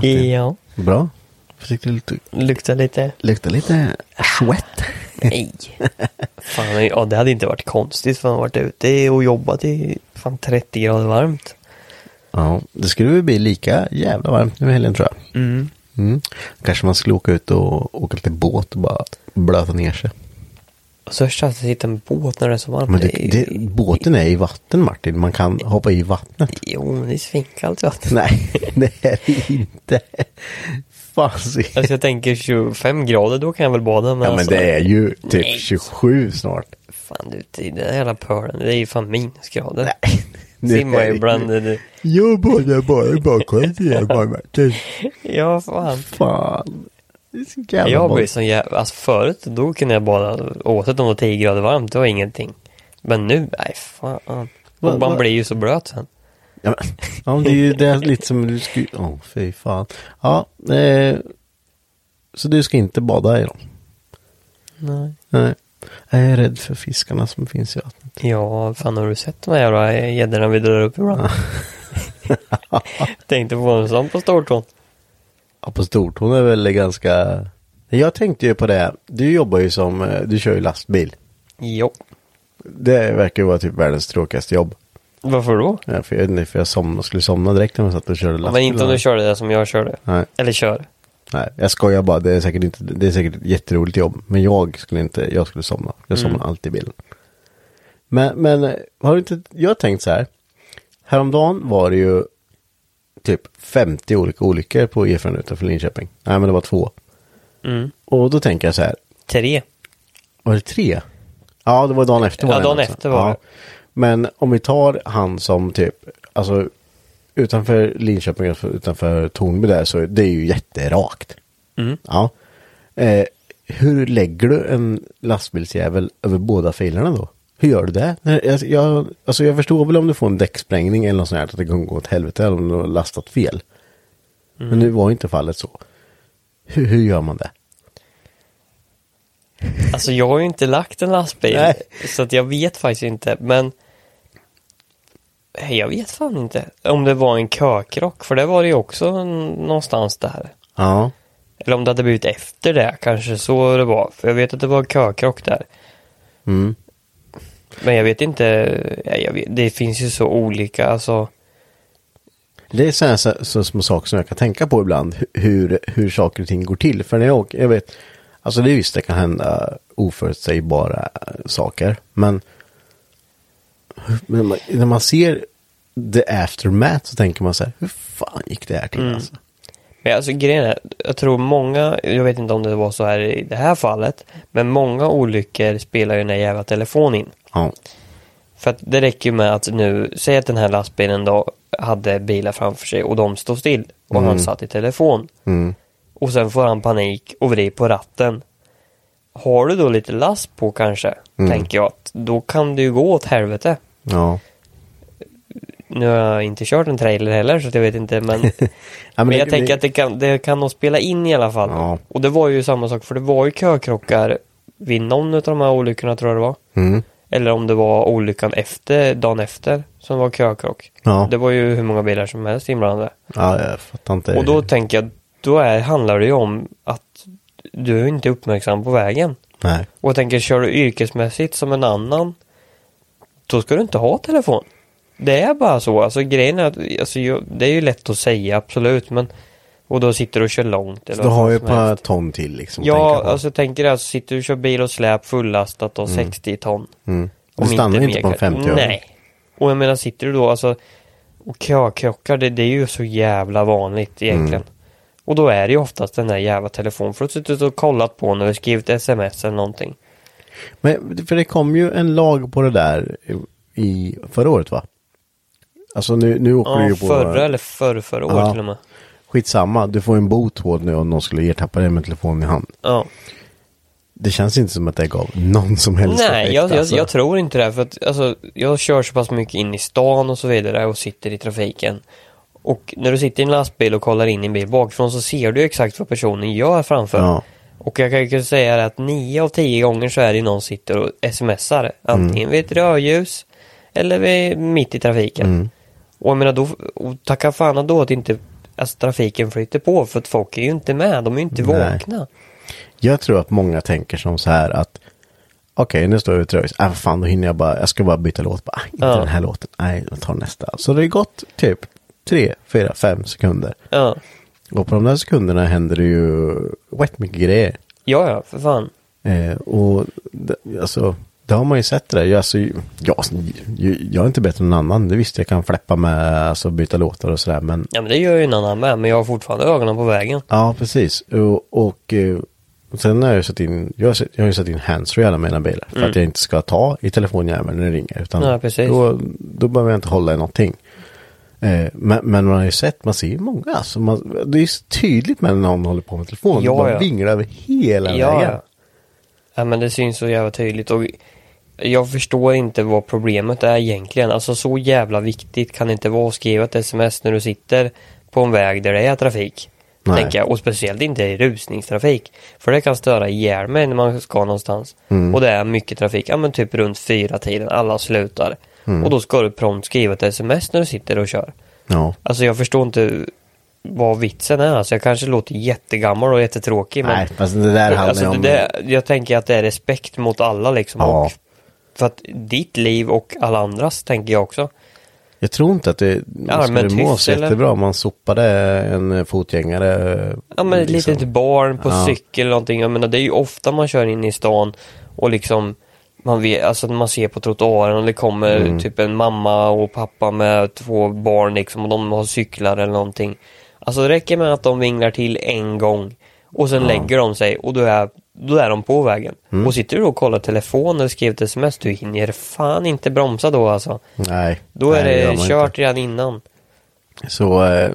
Speaker 1: Ja,
Speaker 2: Bra. Jag tyckte det lukta-
Speaker 1: Luktar lite.
Speaker 2: luktade lite svett.
Speaker 1: Nej. fan, ja, det hade inte varit konstigt för han varit ute och jobbat i fan 30 grader varmt.
Speaker 2: Ja, det skulle väl bli lika jävla varmt nu i helgen tror jag.
Speaker 1: Mm.
Speaker 2: Mm. Kanske man skulle åka ut och åka lite båt och bara blöta ner sig.
Speaker 1: Och så att sitta en båt när det är så varmt.
Speaker 2: Men det,
Speaker 1: är-
Speaker 2: det, båten är i vatten Martin, man kan hoppa i vattnet.
Speaker 1: Jo, men det är svinkallt vatten.
Speaker 2: Nej, det är det inte. Fan, så-
Speaker 1: Alltså jag tänker 25 grader, då kan jag väl bada. Men,
Speaker 2: Ja men
Speaker 1: alltså,
Speaker 2: det är ju typ
Speaker 1: Nej.
Speaker 2: 27 snart.
Speaker 1: Fan, ute i den här jävla pölen, det är ju fan minusgrader.
Speaker 2: Nej. det
Speaker 1: Simmar
Speaker 2: är
Speaker 1: ju
Speaker 2: ju-
Speaker 1: bland det.
Speaker 2: Jag badar bara i bakgrunden igen bara Martin.
Speaker 1: Ja, fan.
Speaker 2: Fan. Det är så jävla
Speaker 1: Jag blir
Speaker 2: bra.
Speaker 1: så jävla... Alltså förut, då kunde jag bada oavsett om det var 10 grader varmt, det var ingenting. Men nu, nej fan.
Speaker 2: Vad-
Speaker 1: Och man
Speaker 2: vad-
Speaker 1: blir ju så blöt sen.
Speaker 2: Ja, men, ja, men det är ju det är lite som du skulle... Åh, fy fan. Ja, eh, så du ska inte bada i dem?
Speaker 1: Nej.
Speaker 2: Nej. Jag är rädd för fiskarna som finns i vattnet.
Speaker 1: Ja, fan har du sett de här jävla gäddorna vi drar upp ibland? Tänkte få en sån på stortån.
Speaker 2: Ja, på Stortorn är väl ganska... Jag tänkte ju på det. Du jobbar ju som... eh, Du kör ju lastbil.
Speaker 1: Jo.
Speaker 2: Det verkar ju vara typ världens tråkigaste jobb.
Speaker 1: Varför då?
Speaker 2: Ja, för jag vet inte, för jag somnade, skulle somna direkt när man satt och körde lastbil.
Speaker 1: Men inte om du kör det där som jag körde.
Speaker 2: Nej,
Speaker 1: Eller kör.
Speaker 2: nej, jag skojar bara. Det är säkert, inte, det är säkert ett jätteroligt jobb. Men jag skulle inte, jag skulle somna. Jag somnar alltid i bilen. Men, men eh, har du inte, jag har tänkt så här. Häromdagen var det ju typ 50 olika olyckor på E4 utanför Linköping. Nej, men det var två.
Speaker 1: Mm.
Speaker 2: Och då tänker jag så här,
Speaker 1: Tre.
Speaker 2: Var det tre? Ja, det var dagen efter.
Speaker 1: Ja,
Speaker 2: det
Speaker 1: dagen
Speaker 2: alltså.
Speaker 1: efter var det.
Speaker 2: Men om vi tar han som typ, alltså utanför Linköping, alltså utanför Tornby där, så det är ju jätterakt.
Speaker 1: Mm.
Speaker 2: Ja. Eh, hur lägger du en lastbilsjävel över båda filerna då? Hur gör du det? När- Jag, jag, alltså jag förstår väl om du får en däcksprängning eller något sånt här, att det kan gå åt helvete eller om du har lastat fel.
Speaker 1: Mm.
Speaker 2: Men nu var inte fallet så. Hur, hur gör man det?
Speaker 1: Alltså jag har ju inte lagt en lastbil.
Speaker 2: Nej.
Speaker 1: Så att jag vet faktiskt inte. Men Nej, jag vet fan inte. Om det var en kökrock. För det var det ju också n- någonstans där.
Speaker 2: Ja.
Speaker 1: Eller om det hade blivit efter det. Kanske så det var. För jag vet att det var en kökrock där.
Speaker 2: Mm.
Speaker 1: Men jag vet inte. nej, Jag vet, det finns ju så olika. Alltså.
Speaker 2: Det är så här, så, så små saker som jag kan tänka på ibland, hu- hur, hur saker och ting går till. För när jag åker, jag vet, alltså det är visst det kan hända oförutsägbara eh, saker, men, men man, när man ser the aftermath så tänker man så här, hur fan gick det här till
Speaker 1: Mm.
Speaker 2: alltså?
Speaker 1: Men alltså grejen är, jag tror många, jag vet inte om det var så här i det här fallet, men många olyckor spelar ju den här jävla telefonen in.
Speaker 2: Ja,
Speaker 1: För att det räcker ju med att nu, säg att den här lastbilen då hade bilar framför sig och de stod still och han satt i telefon.
Speaker 2: mm,
Speaker 1: Och sen får han panik och vrider på ratten. Har du då lite last på kanske, tänker jag, att då kan det ju gå åt helvete.
Speaker 2: ja.
Speaker 1: Nu har jag inte kört en trailer heller så att jag vet inte men,
Speaker 2: ja
Speaker 1: men jag
Speaker 2: det-
Speaker 1: tänker att det kan, det kan nog spela in i alla fall.
Speaker 2: Ja.
Speaker 1: Och det var ju samma sak för det var ju kökrockar vid någon av de här olyckorna tror jag det var.
Speaker 2: Mm,
Speaker 1: Eller om det var olyckan efter, dagen efter, som var kökrock.
Speaker 2: Ja.
Speaker 1: Det var ju hur många bilar som helst inblandade.
Speaker 2: ja, jag fattar inte.
Speaker 1: Och då tänker jag, då är, handlar det ju om att du är inte uppmärksam på vägen.
Speaker 2: Nej,
Speaker 1: Och jag tänker, kör du yrkesmässigt som en annan, då ska du inte ha telefon. Det är bara så. Alltså grejen är att, alltså, jag, det är ju lätt att säga, absolut, men... Och då sitter du och kör långt.
Speaker 2: så
Speaker 1: Eller
Speaker 2: du
Speaker 1: vad fan
Speaker 2: har ju ett
Speaker 1: som helst.
Speaker 2: par ton till liksom. att
Speaker 1: Ja,
Speaker 2: tänka på.
Speaker 1: alltså jag tänker alltså, sitter du och kör bil och släp fullastat och 60 ton.
Speaker 2: Mm.
Speaker 1: Om
Speaker 2: Du stannar inte
Speaker 1: mer
Speaker 2: på en
Speaker 1: kan-
Speaker 2: 50
Speaker 1: Nej. Och jag menar, sitter du då alltså och kökrockar, det, det är ju så jävla vanligt
Speaker 2: Mm.
Speaker 1: egentligen. Och då är det ju oftast den där jävla telefonen. För att du har suttit och kollat på när du skrivit sms eller någonting.
Speaker 2: Men, för det kom ju en lag på det där i förra året va? Alltså nu, nu åker du
Speaker 1: Ja,
Speaker 2: ju på...
Speaker 1: förra eller förr, förra året
Speaker 2: Ja.
Speaker 1: till och med.
Speaker 2: Skitsamma, du får en bot hård nu om någon skulle ertappa dig med telefonen i hand.
Speaker 1: Ja.
Speaker 2: Det känns inte som att det gav någon som helst
Speaker 1: Nej,
Speaker 2: effekt,
Speaker 1: jag, jag,
Speaker 2: alltså.
Speaker 1: jag tror inte det. För att, alltså, jag kör så pass mycket in i stan och så vidare och sitter i trafiken. Och när du sitter i en lastbil och kollar in i en bil bakifrån så ser du ju exakt vad personen gör framför.
Speaker 2: Ja.
Speaker 1: Och jag kan ju kunna säga det att nio av tio gånger så är det någon sitter och smsar.
Speaker 2: Mm.
Speaker 1: Antingen vid ett rödljus
Speaker 2: Mm.
Speaker 1: eller vid, mitt i trafiken. Och jag menar då, och tacka fan då att inte alltså, trafiken flyter på för att folk är ju inte med, de är ju inte
Speaker 2: Nej.
Speaker 1: vakna.
Speaker 2: Jag tror att många tänker som så här att okej, nu står jag vid tröjs. Äh, fan, då hinner jag bara, jag ska bara byta låt. Bara, "Ah, inte
Speaker 1: Ja.
Speaker 2: den här låten. Nej, jag tar nästa. Så det är gått typ tre, fyra, fem sekunder.
Speaker 1: Ja,
Speaker 2: Och på de där sekunderna händer det ju rätt mycket grejer.
Speaker 1: ja, ja för fan.
Speaker 2: Eh, och det, alltså, det har man ju sett det där. Jag, alltså, jag, jag är inte bättre än någon annan. Det visst, jag kan fläppa med, alltså byta låtar och sådär. Men
Speaker 1: Ja, men det gör ju en annan med, men jag har fortfarande ögonen på vägen.
Speaker 2: Ja, precis. Och, och eh, sen har jag satt in, jag har, satt- jag har ju satt in handsfree i alla mina bilar. För att jag inte ska ta i telefonjäveln när det ringer. Utan
Speaker 1: Mm. Ja, precis.
Speaker 2: Då, då behöver jag inte hålla i någonting. Eh, men, men man har ju sett, man ser ju många. Alltså, man, det är ju så tydligt med när någon håller på med telefonen.
Speaker 1: Ja,
Speaker 2: de
Speaker 1: ja.
Speaker 2: vinglar över hela
Speaker 1: Ja,
Speaker 2: vägen.
Speaker 1: ja. ja, men det syns så jävla tydligt och jag förstår inte vad problemet är egentligen. Alltså så jävla viktigt kan det inte vara att skriva ett sms när du sitter på en väg där det är trafik.
Speaker 2: Nej.
Speaker 1: Tänker jag. Och speciellt inte i rusningstrafik. För det kan störa ihjäl mig när man ska någonstans.
Speaker 2: Mm.
Speaker 1: Och det är mycket trafik. Ja men typ runt fyra tiden. Alla slutar.
Speaker 2: Mm.
Speaker 1: Och då ska du prompt skriva ett sms när du sitter och kör.
Speaker 2: Ja.
Speaker 1: Alltså jag förstår inte vad vitsen är. Alltså jag kanske låter jättegammal och jättetråkig. Men
Speaker 2: Nej, fast det där handlar
Speaker 1: alltså,
Speaker 2: ju om...
Speaker 1: det, där- jag tänker att det är respekt mot alla liksom.
Speaker 2: Ja.
Speaker 1: Och för att ditt liv och alla andras tänker jag också.
Speaker 2: Jag tror inte att det
Speaker 1: Ja,
Speaker 2: ja, skulle
Speaker 1: men
Speaker 2: må
Speaker 1: tyst,
Speaker 2: så
Speaker 1: eller?
Speaker 2: jättebra om man sopade en eh, fotgängare. eh,
Speaker 1: Ja men typ- ett
Speaker 2: liksom.
Speaker 1: litet barn på
Speaker 2: Ja.
Speaker 1: cykel eller någonting. Jag menar det är ju ofta man kör in i stan och liksom man vet, alltså när man ser på trottoaren och det kommer
Speaker 2: Mm.
Speaker 1: typ en mamma och pappa med två barn liksom och de har cyklar eller någonting. Alltså det räcker med att de vinglar till en gång och sen lägger de sig och då är, då är de på vägen.
Speaker 2: Mm.
Speaker 1: Och sitter du då och kollar telefon eller skriver ett sms, du hinner fan inte bromsa då alltså.
Speaker 2: Nej.
Speaker 1: Då är
Speaker 2: nej, gör
Speaker 1: det
Speaker 2: man
Speaker 1: kört
Speaker 2: inte.
Speaker 1: redan innan.
Speaker 2: Så eh,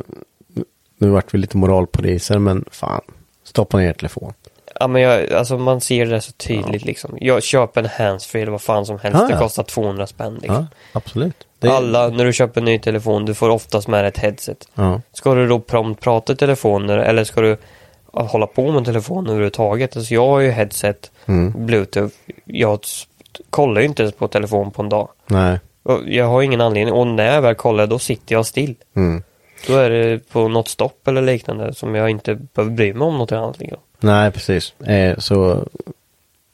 Speaker 2: nu vart vi lite moralpoliser, men fan. Stoppa ner telefon.
Speaker 1: Ja men jag, alltså man ser det så tydligt liksom. Jag köper en handsfree eller vad fan som helst.
Speaker 2: Ah, Ja,
Speaker 1: Det
Speaker 2: ja.
Speaker 1: kostar 200 spänn liksom.
Speaker 2: Ja, absolut. Det,
Speaker 1: Alla, när du köper en ny telefon, du får oftast med dig ett headset.
Speaker 2: Ja.
Speaker 1: Ska du då prompt prata i telefoner eller ska du ja, hålla på med telefonen överhuvudtaget? Alltså jag har ju headset,
Speaker 2: Mm.
Speaker 1: bluetooth. Jag s- kollar ju inte ens på telefon på en dag.
Speaker 2: Nej.
Speaker 1: Och Jag har ingen anledning och när jag väl kollar då sitter jag still.
Speaker 2: Mm.
Speaker 1: Då är det på något stopp eller liknande som jag inte behöver bry mig om något annat. Liksom.
Speaker 2: Nej, precis. Eh, så,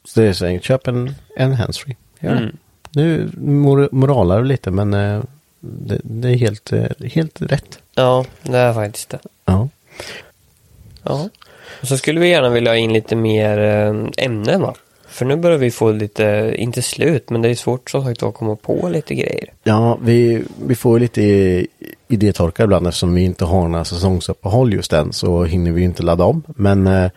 Speaker 2: så det är så enkelt. Köp en, en handsfree. Gör det.
Speaker 1: Mm.
Speaker 2: Nu mor- moralar du lite, men eh, det, det är helt, eh, helt rätt.
Speaker 1: Ja, det är faktiskt det.
Speaker 2: Ja.
Speaker 1: Ja. Och så skulle vi gärna vilja ha in lite mer eh, ämnen va? För nu börjar vi få lite, inte slut, men det är svårt som sagt att komma på lite grejer.
Speaker 2: Ja, vi, vi får ju lite idétorka ibland eftersom vi inte har några säsongsuppehåll just än så hinner vi ju inte ladda om. Men eh,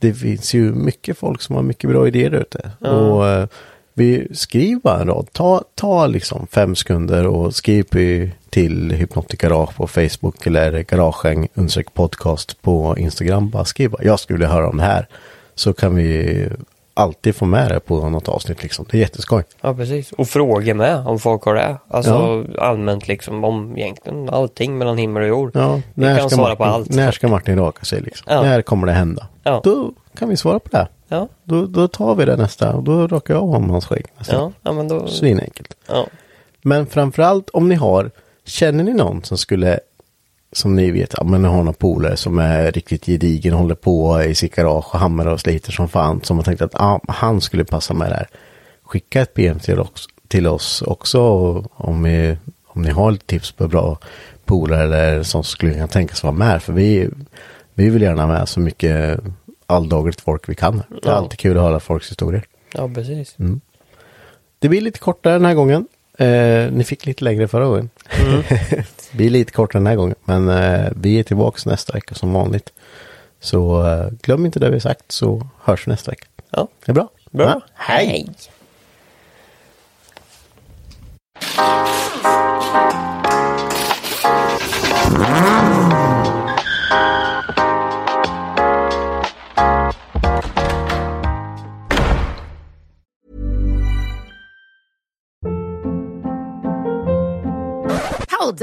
Speaker 2: det finns ju mycket folk som har mycket bra idéer där ute. Och eh, vi skriver bara en rad. Ta, ta liksom fem sekunder och skriv på- till Hypnotic Garage på Facebook eller Garagehäng undersök podcast på Instagram. Bara skriv bara, jag skulle vilja höra om det här. Så kan vi alltid få med det på något avsnitt liksom. Det är jätteskoj.
Speaker 1: Ja, precis. Och frågor med om folk har det. Alltså allmänt liksom om egentligen allting mellan himmel och jord.
Speaker 2: Ja,
Speaker 1: vi
Speaker 2: när
Speaker 1: kan
Speaker 2: ska,
Speaker 1: svara
Speaker 2: Martin,
Speaker 1: på allt.
Speaker 2: när ska Martin raka sig liksom?
Speaker 1: Ja.
Speaker 2: När kommer det hända?
Speaker 1: Ja.
Speaker 2: Då kan vi svara på det.
Speaker 1: Ja,
Speaker 2: Då, då tar vi det nästa och då rakar jag om hans skägg. nästa.
Speaker 1: ja, ja men då...
Speaker 2: Svinenkelt.
Speaker 1: Ja.
Speaker 2: Men framförallt om ni har, känner ni någon som skulle, som ni vet, ja men ni har någon polare som är riktigt gedigen, håller på i sitt garage och hamrar och sliter som fan, som har tänkt att ah, han skulle passa med där. Skicka ett PM till oss, till oss också och om, vi, om ni har lite tips på bra polare eller som skulle kunna tänkas vara med, för vi, vi vill gärna ha med så mycket alldagligt folk vi kan. Det är
Speaker 1: Ja.
Speaker 2: alltid kul att höra folks historier.
Speaker 1: ja, precis.
Speaker 2: Mm. Det blir lite kortare den här gången. Eh, ni fick lite längre förra gången.
Speaker 1: Mm.
Speaker 2: det blir lite kortare den här gången. Men eh, vi är tillbaka nästa vecka som vanligt. Så eh, glöm inte det vi sagt så hörs vi nästa vecka.
Speaker 1: Ja.
Speaker 2: Det är bra.
Speaker 1: Bra.
Speaker 2: Ja. Hej.
Speaker 1: Hej.
Speaker 3: Hold